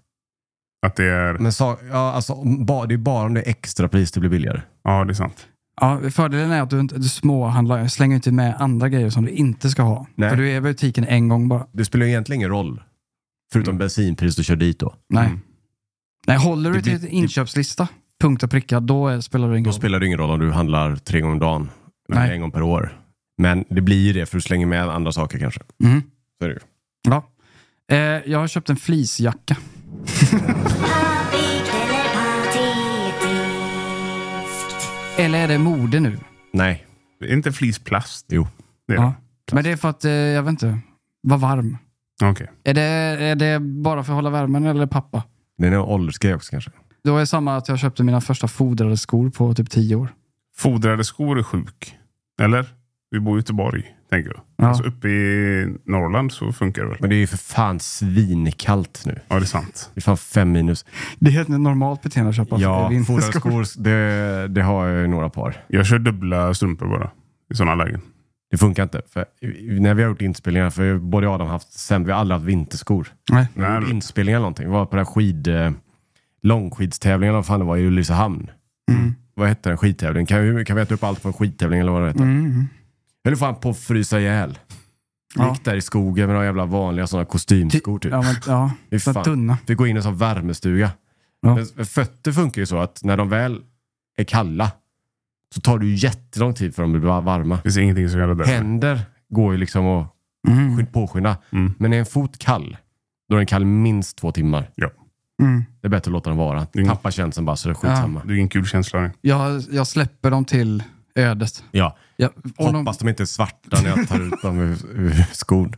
Speaker 1: Att det är,
Speaker 2: Men så, ja, alltså, om- ba, det är bara om det är extrapris det blir billigare.
Speaker 1: ja det är sant.
Speaker 3: Ja, fördelen är att du, inte- du småhandlar, slänger inte med andra grejer som du inte ska ha.
Speaker 2: Nej.
Speaker 3: För du är i butiken en gång bara.
Speaker 2: Det spelar ju egentligen ingen roll. Förutom bensinpris du kör dit då.
Speaker 3: Nej.
Speaker 1: Mm.
Speaker 3: Nej, håller du
Speaker 2: Det blir-
Speaker 3: till en inköpslista, punkt och pricka, då är- spelar det ingen
Speaker 2: Då
Speaker 3: roll.
Speaker 2: spelar det ingen roll om du handlar tre gånger om dagen.
Speaker 3: Nej.
Speaker 2: Eller en gång per år. Men det blir ju det för du slänger med andra saker kanske.
Speaker 3: Mm.
Speaker 2: Så är det ju.
Speaker 3: Ja. Eh, jag har köpt en fleecejacka. Eller är det mode nu?
Speaker 2: Nej.
Speaker 1: Det är inte flisplast.
Speaker 2: Jo.
Speaker 1: Det är
Speaker 3: Ja. Men det är för att, eh, jag vet inte, var varm.
Speaker 1: det. Okej.
Speaker 3: Är det, är det bara för att hålla värmen eller pappa?
Speaker 2: Det är en åldersgrej också kanske.
Speaker 3: Då är samma att jag köpte mina första fodrade skor på typ tio år.
Speaker 1: Fodrade skor är sjuk. Eller? Vi bor i Göteborg, tänker jag.
Speaker 3: Ja.
Speaker 1: Alltså uppe i Norrland så funkar det väl.
Speaker 2: Men det är ju för fan svinkallt nu.
Speaker 1: Ja, det är sant.
Speaker 2: Det är fan fem minus.
Speaker 3: Det är ett normalt beteende att köpa
Speaker 2: Ja,
Speaker 3: vinterskor.
Speaker 2: fodrarskor, det, det har jag ju några par.
Speaker 1: Jag kör dubbla strumpor bara. I sådana lägen.
Speaker 2: Det funkar inte. För när vi har gjort inspelningar, för både jag och Adam har haft sämre, vi har aldrig haft vinterskor.
Speaker 3: Nej.
Speaker 2: Vi gjorde Inspelningar eller någonting. Vi var på den här skid, eh, långskidstävlingen, eller vad fan det var, i Ulricehamn.
Speaker 3: Mm.
Speaker 2: Vad hette den? Skidtävling? Kan, hur- kan vi äta upp allt på en skidtävling eller vad det heter?
Speaker 3: Mm.
Speaker 2: Eller fan på att frysa ihjäl.
Speaker 3: Ja.
Speaker 2: Gick där i skogen med några jävla vanliga sådana kostymskor typ.
Speaker 3: Ja, men, ja.
Speaker 2: Fy
Speaker 3: Så
Speaker 2: fan.
Speaker 3: tunna.
Speaker 2: Fick gå in i en sån värmestuga.
Speaker 3: Ja.
Speaker 2: Men fötter funkar ju så att när de väl är kalla så tar det ju jättelång tid för dem att bli varma.
Speaker 1: Det finns ingenting som kan rädda det.
Speaker 2: Händer går ju liksom att
Speaker 3: Mm.
Speaker 2: skyn- påskynda.
Speaker 1: Mm.
Speaker 2: Men är en fot kall, då är den kall minst två timmar.
Speaker 3: Mm.
Speaker 2: Det är bättre att låta den vara.
Speaker 1: Mm.
Speaker 2: Tappa känslan bara så är det skitsamma.
Speaker 1: Det är ingen kul känsla. nu.
Speaker 3: Jag, jag släpper dem till ödet.
Speaker 2: Ja.
Speaker 3: Jag, om de,
Speaker 2: Hoppas de inte är svarta när jag tar ut dem ur, ur skon.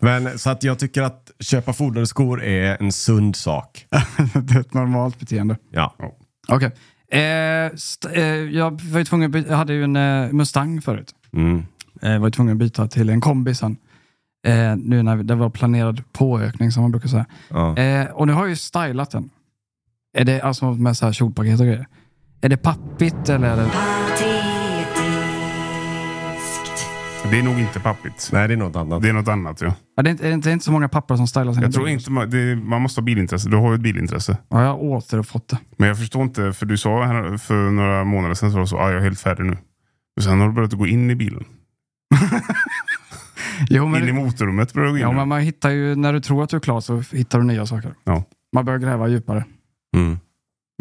Speaker 2: Men så att jag tycker att köpa fodrade skor är en sund sak.
Speaker 3: det är ett normalt beteende.
Speaker 2: Ja.
Speaker 3: Okej. Eh, st- eh, jag, var ju tvungen att byta, jag hade ju en eh, Mustang förut.
Speaker 2: Mm.
Speaker 3: Eh, var ju tvungen att byta till en kombi sen. Eh, nu när vi- det var planerad påökning som man brukar säga.
Speaker 2: Ja.
Speaker 3: Eh, och nu har jag ju stylat den. Är det alltså med så här kjolpaket och grejer? Är det pappigt eller? Är det...
Speaker 1: Det är nog inte pappigt.
Speaker 2: Nej, det är något annat.
Speaker 1: Det är något annat. Ja.
Speaker 3: Ja, det, är inte, är det inte- det är inte så många pappor som stylar sina
Speaker 1: Jag tror
Speaker 3: bilar.
Speaker 1: inte man, det, man måste ha bilintresse. Du har ju ett bilintresse.
Speaker 3: Ja, jag har återfått det.
Speaker 1: Men jag förstår inte, för du sa här för några månader sedan så var det så, ah, jag är helt färdig nu. Och sen har du börjat gå in i bilen.
Speaker 3: Jo, men,
Speaker 1: In i motorrummet börjar du gå in.
Speaker 3: ja,
Speaker 1: nu.
Speaker 3: men man hittar ju, när du tror att du är klar så hittar du nya saker.
Speaker 1: Ja.
Speaker 3: Man börjar gräva djupare.
Speaker 2: Mm.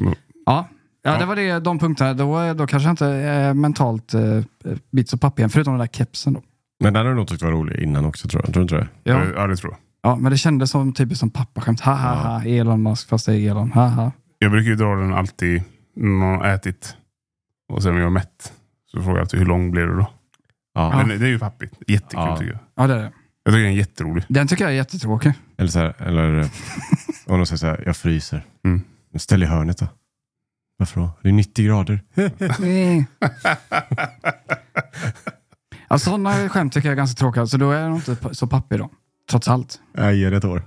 Speaker 3: Ja, ja,
Speaker 1: Ja.
Speaker 3: det var det, de punkterna. Då, då kanske jag inte är mentalt eh, bits och papp igen, förutom den där kepsen då.
Speaker 2: Men den har du nog tyckt var rolig innan också tror jag. Tror du inte det?
Speaker 3: Ja,
Speaker 1: Eh, ja, det tror jag.
Speaker 3: ja men det kändes som typiskt som pappaskämt. Ha ha ha, Elon Musk fast det är Elon. Ha ha.
Speaker 1: Jag brukar ju dra den alltid när man har ätit. Och sen när jag är mätt. Så frågar jag alltid, hur lång blir du då?
Speaker 2: Ja.
Speaker 1: Men det är ju pappigt. Jättekul
Speaker 2: Ja.
Speaker 1: tycker jag.
Speaker 3: Ja, det är det.
Speaker 1: Jag tycker den är jätterolig.
Speaker 3: Den tycker jag är jättetråkig.
Speaker 2: Eller så här, eller eh, om de säger så här, jag fryser.
Speaker 1: Mm.
Speaker 2: Men Ställ i hörnet då. Varför då? Det är 90 grader.
Speaker 3: Nej. ja, sådana skämt tycker jag är ganska tråkiga, så då är jag nog inte p- så pappig då. Trots allt.
Speaker 2: Jag ger det ett år.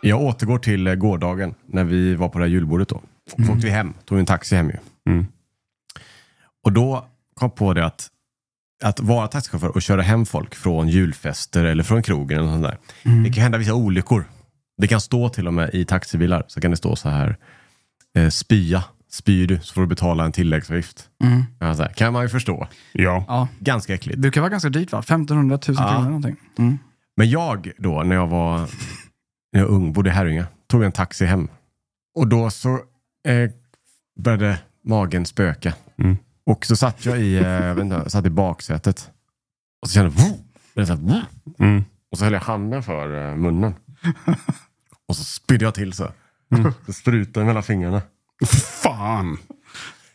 Speaker 2: Jag återgår till eh, gårdagen när vi var på det här julbordet då. Så åkte vi hem, tog en taxi hem ju.
Speaker 1: Mm.
Speaker 2: Och då kom jag på det att, att vara taxichaufför och köra hem folk från julfester eller från krogen eller något sånt där. Det kan hända vissa olyckor. Det kan stå till och med i taxibilar så kan det stå så här eh, spya, spyr du så får du betala en tilläggsavgift. Ja, så här, kan man ju förstå.
Speaker 1: Ja.
Speaker 3: Ja.
Speaker 2: Ganska
Speaker 3: Det
Speaker 2: äckligt.
Speaker 3: brukar vara ganska dyrt va? 1500 000
Speaker 2: Ja.
Speaker 3: kronor eller någonting. Mm.
Speaker 2: Men jag då, när jag var, när jag var ung, bodde i Herrljunga, tog en taxi hem. Och då så eh, började magen spöka.
Speaker 1: Mm.
Speaker 2: Och så satt jag i, eh, jag vet inte, satt i baksätet. Och så kände jag, "Vroom!" Det är så här, "Vroom!"
Speaker 1: Mm.
Speaker 2: och så höll jag handen för eh, munnen. Och så spydde jag till så. Det sprutade mellan fingrarna.
Speaker 1: Fan!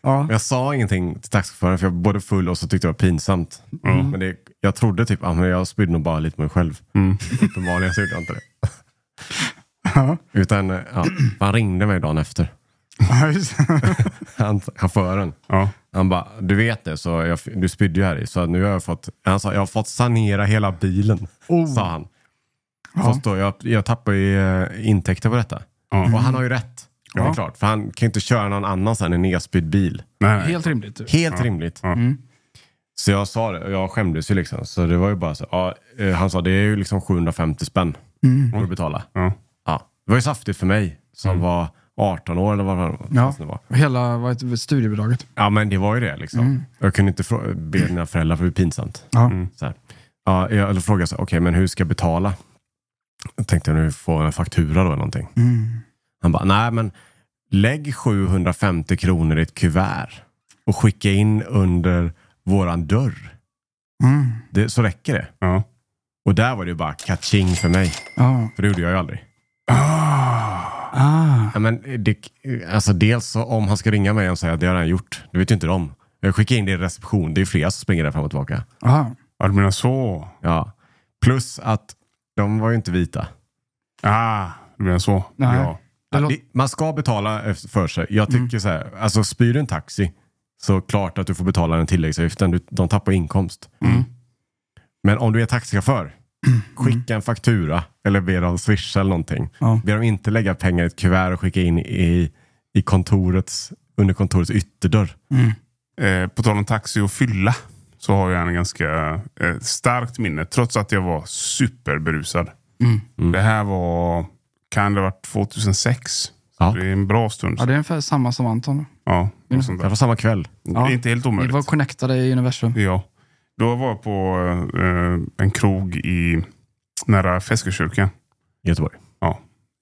Speaker 3: Ja.
Speaker 2: Men Jag sa ingenting till taxichauffören för jag var både full och så tyckte jag det var pinsamt.
Speaker 1: Mm.
Speaker 2: Mm. Men det, jag trodde typ att jag spydde nog bara lite på mig själv.
Speaker 1: Mm.
Speaker 2: Uppenbarligen så gjorde jag inte det. Utan eh, ja, han ringde mig dagen efter.
Speaker 3: Ja, just det.
Speaker 2: Han, chauffören.
Speaker 1: Ja.
Speaker 2: Han bara, du vet det, så jag, du spydde ju här i. Så nu har jag fått, han sa, jag har fått sanera hela bilen.
Speaker 1: Oh.
Speaker 2: Sa han. Fast då, jag, jag tappar ju eh, intäkter på detta.
Speaker 1: Ja.
Speaker 2: Och han har ju rätt. Det är
Speaker 1: Mm. Ja.
Speaker 2: klart, för han kan ju inte köra någon annan sen en nedspydd bil.
Speaker 1: Nej, nej.
Speaker 3: Helt rimligt. typ. du.
Speaker 2: Helt rimligt.
Speaker 1: Ja.
Speaker 3: Mm.
Speaker 2: Så jag sa det och jag skämdes ju liksom. Så det var ju bara så. Ja, eh, han sa det är ju liksom 750 spänn.
Speaker 3: Mm.
Speaker 2: Får du betala.
Speaker 1: Ja.
Speaker 2: Ja. Mm. Det var ju saftigt för mig som var 18 år eller vad fan
Speaker 3: Ja.
Speaker 2: det var.
Speaker 3: Hela vad heter det, studiebidraget.
Speaker 2: Ja men det var ju det liksom. Jag kunde inte frå- be mina föräldrar för det är pinsamt.
Speaker 3: Mm. Ja.
Speaker 2: Så här. Ja, jag, eller frågade så här, okej men hur ska jag betala? Jag tänkte nu få en faktura då eller någonting.
Speaker 3: Mm.
Speaker 2: Han bara, nej men lägg 750 kronor i ett kuvert och skicka in under våran dörr.
Speaker 3: Mm.
Speaker 2: Det, så räcker det.
Speaker 1: Ja.
Speaker 2: Och där var det ju bara catching för mig.
Speaker 3: Ja.
Speaker 2: För det gjorde jag ju aldrig.
Speaker 3: Ah.
Speaker 2: Ja, men det, alltså dels så om han ska ringa mig och säga att det har han gjort. Det vet ju inte de. Jag skickar in det i reception. Det är flera som springer där fram och tillbaka.
Speaker 3: Ah.
Speaker 1: Ja, du menar så.
Speaker 2: Ja. Plus att de var ju inte vita.
Speaker 1: Ah, du menar så.
Speaker 3: Nej.
Speaker 1: Ja.
Speaker 3: Det
Speaker 2: Ja,
Speaker 3: låter-
Speaker 2: det, man ska betala efter- för sig. Jag tycker så här, alltså spyr du en taxi så klart att du får betala den tilläggsavgiften. Du, de tappar inkomst. Men om du är taxichaufför, skicka en faktura eller be dem swisha eller någonting.
Speaker 3: Ja.
Speaker 2: Be dem inte lägga pengar i ett kuvert och skicka in i, i kontorets, under kontorets ytterdörr.
Speaker 1: Eh, på tal om taxi och fylla så har jag en ganska eh, starkt minne trots att jag var
Speaker 3: Mm.
Speaker 1: superberusad. Det här var, kan det ha varit 2006?
Speaker 2: Ja.
Speaker 1: Det är en bra stund.
Speaker 3: Ja, det är ungefär samma som Anton.
Speaker 1: Ja, något sånt
Speaker 2: Det
Speaker 1: där.
Speaker 2: var samma kväll.
Speaker 3: Ja.
Speaker 1: Inte helt
Speaker 3: Vi
Speaker 1: omöjligt.
Speaker 3: var connectade i universum.
Speaker 1: Ja. Då var jag på eh, en krog i nära Feskekyrkan.
Speaker 2: I Göteborg.
Speaker 1: Ja.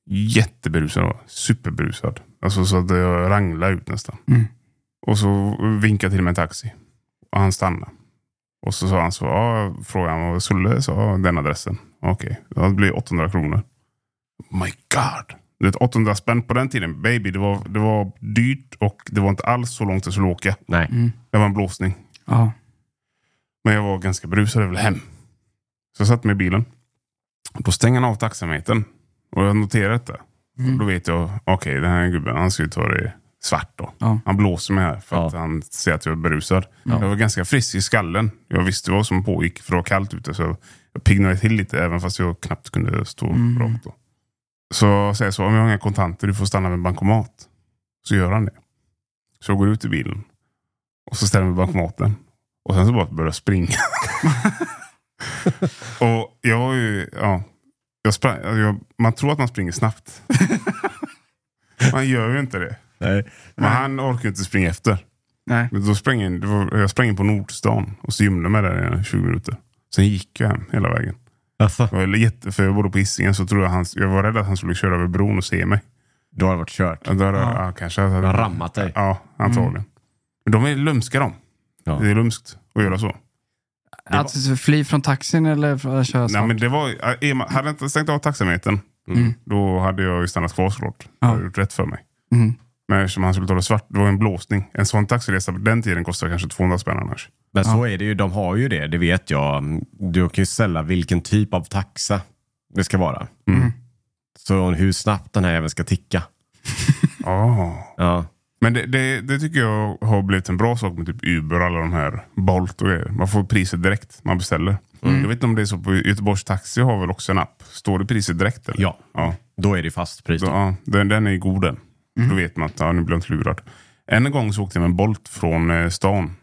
Speaker 1: Jätteberusad. var jag. Superberusad. Alltså så att jag ranglade ut nästan.
Speaker 3: Mm.
Speaker 1: Och så vinkade till mig en taxi. Och han stannade. Och så sa han så, ja, frågade han vad jag skulle, så ja, den adressen. Okej, det blir 800 kronor. My God! Du vet, 800 spänn på den tiden, baby, det var, det var dyrt och det var inte alls så långt jag skulle åka.
Speaker 2: Nej.
Speaker 3: Mm.
Speaker 1: Det var en blåsning.
Speaker 3: Ja.
Speaker 1: Men jag var ganska brusad och ville hem. Så jag satte mig i bilen. Då stänger han av taxametern. Och jag noterar detta. Och då vet jag, okej den här gubben han ska ju ta det svart då.
Speaker 3: Ja.
Speaker 1: Han blåser mig här för att
Speaker 2: Ja.
Speaker 1: han ser att jag är berusad. Jag var ganska frisk i skallen. Jag visste vad som pågick för det var kallt ute. Så jag piggnade till lite även fast jag knappt kunde stå rakt då. Så jag säger så, om jag har inga kontanter, du får stanna med bankomat. Så gör han det. Så jag går ut i bilen. Och så ställer jag mig vid bankomaten. Och sen så bara börjar jag springa. och jag var ju, ja. Jag sprang, jag, man tror att man springer snabbt. man gör ju inte det.
Speaker 2: Nej.
Speaker 1: Men han orkar ju inte springa efter.
Speaker 3: Nej.
Speaker 1: Men då sprang jag, in- det var, jag sprang in på Nordstan och så gömde jag mig där i 20 minuter. Sen gick jag hem hela vägen.
Speaker 2: Alltså.
Speaker 1: Jag var jätte, för jag bodde på Hisingen så tror jag han, jag var rädd att han skulle köra över bron och se mig.
Speaker 2: Då har det varit kört.
Speaker 1: Ja, Där, ja. kanske. Han
Speaker 2: har rammat dig. Mm.
Speaker 1: Ja, antagligen. Men de är lömska de.
Speaker 2: Ja.
Speaker 1: Det är lömskt att göra så.
Speaker 3: Att fly från taxin eller för att köra
Speaker 1: Nej,
Speaker 3: snabbt?
Speaker 1: men det var, är man- hade jag inte stängt av taxametern,
Speaker 2: Mm.
Speaker 1: då hade jag ju stannat kvar såklart. Jag hade gjort rätt för mig.
Speaker 3: Mm.
Speaker 1: Men eftersom han skulle ta det svart, det var en blåsning. En sån taxiresa på den tiden kostade kanske 200 spänn annars.
Speaker 2: Men så är det ju. De har ju det. Det vet jag. Du kan ju sälja vilken typ av taxa det ska vara. Mm. Så hur snabbt den här jäveln ska ticka.
Speaker 1: Oh.
Speaker 2: Ja.
Speaker 1: Men det, det, det tycker jag har blivit en bra sak med typ Uber och alla de här Bolt och grejer. Man får priset direkt man beställer. Jag vet inte om det är så på Göteborgs Taxi har väl också en app. Står det priset direkt? Eller?
Speaker 2: Ja.
Speaker 1: ja.
Speaker 2: Då är det Mm. ju fast pris.
Speaker 1: Då, ja den, den är ju god den. Då vet man att ja, nu blir jag inte lurad. En gång så åkte jag med en Bolt från eh, stan.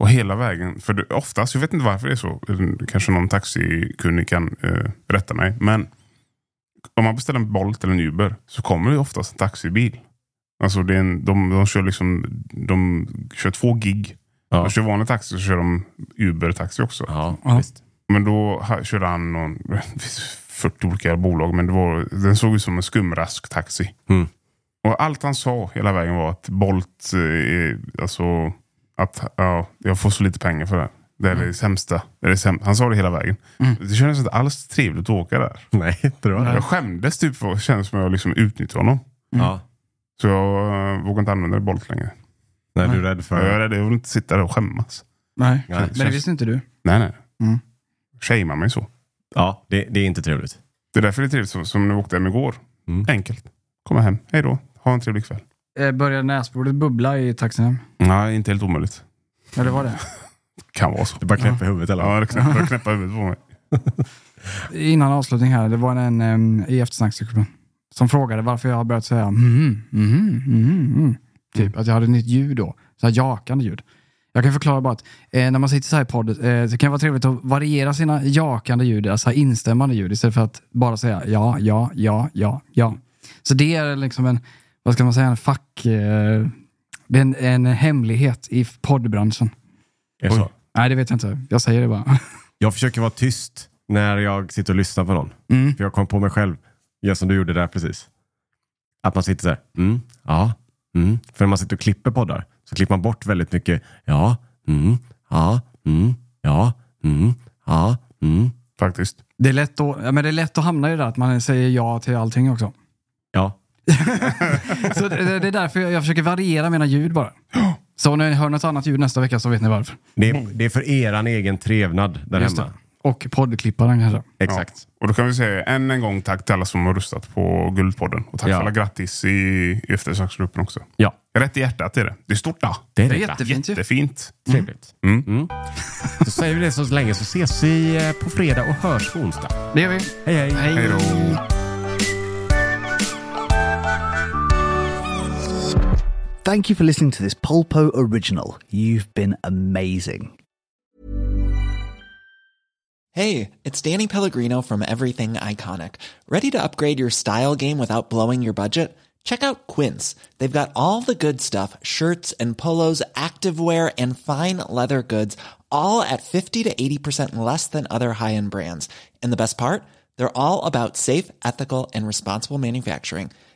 Speaker 1: Och hela vägen, för det, oftast, jag vet inte varför det är så. eh, Kanske någon taxikunnig kan eh, rätta mig. Men om man beställer en Bolt eller en Uber så kommer det ju oftast en taxibil. Alltså det är en, de, de kör liksom, de kör två gig.
Speaker 2: Ja.
Speaker 1: De kör vanlig taxi så kör de Uber-taxi också.
Speaker 2: Ja,
Speaker 3: Ja.
Speaker 2: visst.
Speaker 1: Men då ha- körde han någon, det finns 40 olika bolag, men det var, den såg ut som en skumrask taxi.
Speaker 2: Mm.
Speaker 1: Och allt han sa hela vägen var att Bolt, eh, alltså att ja, jag får så lite pengar för det här. Det här är
Speaker 2: Mm.
Speaker 1: det sämsta. Det är det säm- han sa det hela vägen. Det kändes inte alls trevligt att åka där.
Speaker 2: Nej, Mm. inte Mm. det var det.
Speaker 1: Jag skämdes typ för det kändes som att jag liksom utnyttjade honom.
Speaker 2: Ja.
Speaker 1: Så jag eh, vågar inte använda Bolt längre.
Speaker 2: Nej, du är rädd för...
Speaker 1: Jag är rädd, jag vill inte sitta där och skämmas.
Speaker 3: Nej.
Speaker 2: Ja, det
Speaker 3: Men det
Speaker 2: känns-
Speaker 3: visste inte du.
Speaker 1: Nej, nej.
Speaker 3: Mm.
Speaker 1: Shamea mig så.
Speaker 2: Ja, det, det är inte trevligt.
Speaker 1: Det är därför det är trevligt som, som när vi åkte hem igår.
Speaker 2: Mm.
Speaker 1: Enkelt. Komma hem. Hej då. Ha en trevlig kväll.
Speaker 3: Eh, Började näsbordet bubbla i taxin hem?
Speaker 1: Nej, inte helt omöjligt.
Speaker 3: Eller var det?
Speaker 1: Kan vara så.
Speaker 2: Det bara knäpper huvudet eller?
Speaker 1: Ja, det knäppar, det knäppar huvudet på mig.
Speaker 3: Innan avslutning här, det var en em, i eftersnacksgruppen som frågade varför jag har börjat säga mhm, mhm, mhm, mhm. Typ att jag hade ett nytt ljud då. Så här jakande ljud. Jag kan förklara bara att eh, när man sitter så här i podd eh, så kan det vara trevligt att variera sina jakande ljud, alltså här instämmande ljud, istället för att bara säga ja, ja, ja, ja, ja. Så det är liksom en, vad ska man säga, en fack... Eh, det är en, en hemlighet i poddbranschen.
Speaker 2: Är det så?
Speaker 3: Nej, det vet jag inte. Jag säger det bara.
Speaker 2: Jag försöker vara tyst när jag sitter och lyssnar på någon. För jag kom på mig själv, gör som du gjorde där precis. Att man sitter så här, mm, ja, mm. För när man sitter och klipper poddar så klipper man bort väldigt mycket, ja, mm, ja, mm, ja, mm, ja, mm,
Speaker 1: Faktiskt.
Speaker 3: Det är, lätt att, ja, men det är lätt att hamna i det där att man säger ja till allting också.
Speaker 2: ja.
Speaker 3: Så det, det är därför jag, jag försöker variera mina ljud bara. Så om ni hör något annat ljud nästa vecka så vet ni varför.
Speaker 2: Det är, det är för eran egen trevnad där
Speaker 3: Just
Speaker 2: hemma.
Speaker 3: det. Och poddklipparen kanske.
Speaker 2: Exakt.
Speaker 1: Ja. Och då kan vi säga än en gång tack till alla som har röstat på Guldpodden. Och tack
Speaker 2: Ja.
Speaker 1: för alla grattis i, i eftersnacksgruppen också.
Speaker 2: Ja,
Speaker 1: Rätt i hjärtat är det. Det är stort då.
Speaker 2: det är
Speaker 3: Det är
Speaker 2: det.
Speaker 3: jättefint ju.
Speaker 1: Jättefint.
Speaker 2: Trevligt.
Speaker 1: Mm.
Speaker 2: Mm. Så säger vi det så länge så ses vi eh, på fredag och hörs på onsdag.
Speaker 3: Det gör vi.
Speaker 2: Hej hej.
Speaker 1: Hej då.
Speaker 5: Thank you for listening to this Polpo original. You've been amazing.
Speaker 6: Hey, it's Danny Pellegrino from Everything Iconic. Ready to upgrade your style game without blowing your budget? Check out Quince. They've got all the good stuff shirts and polos, activewear, and fine leather goods, all at 50 to 80% less than other high end brands. And the best part? They're all about safe, ethical, and responsible manufacturing.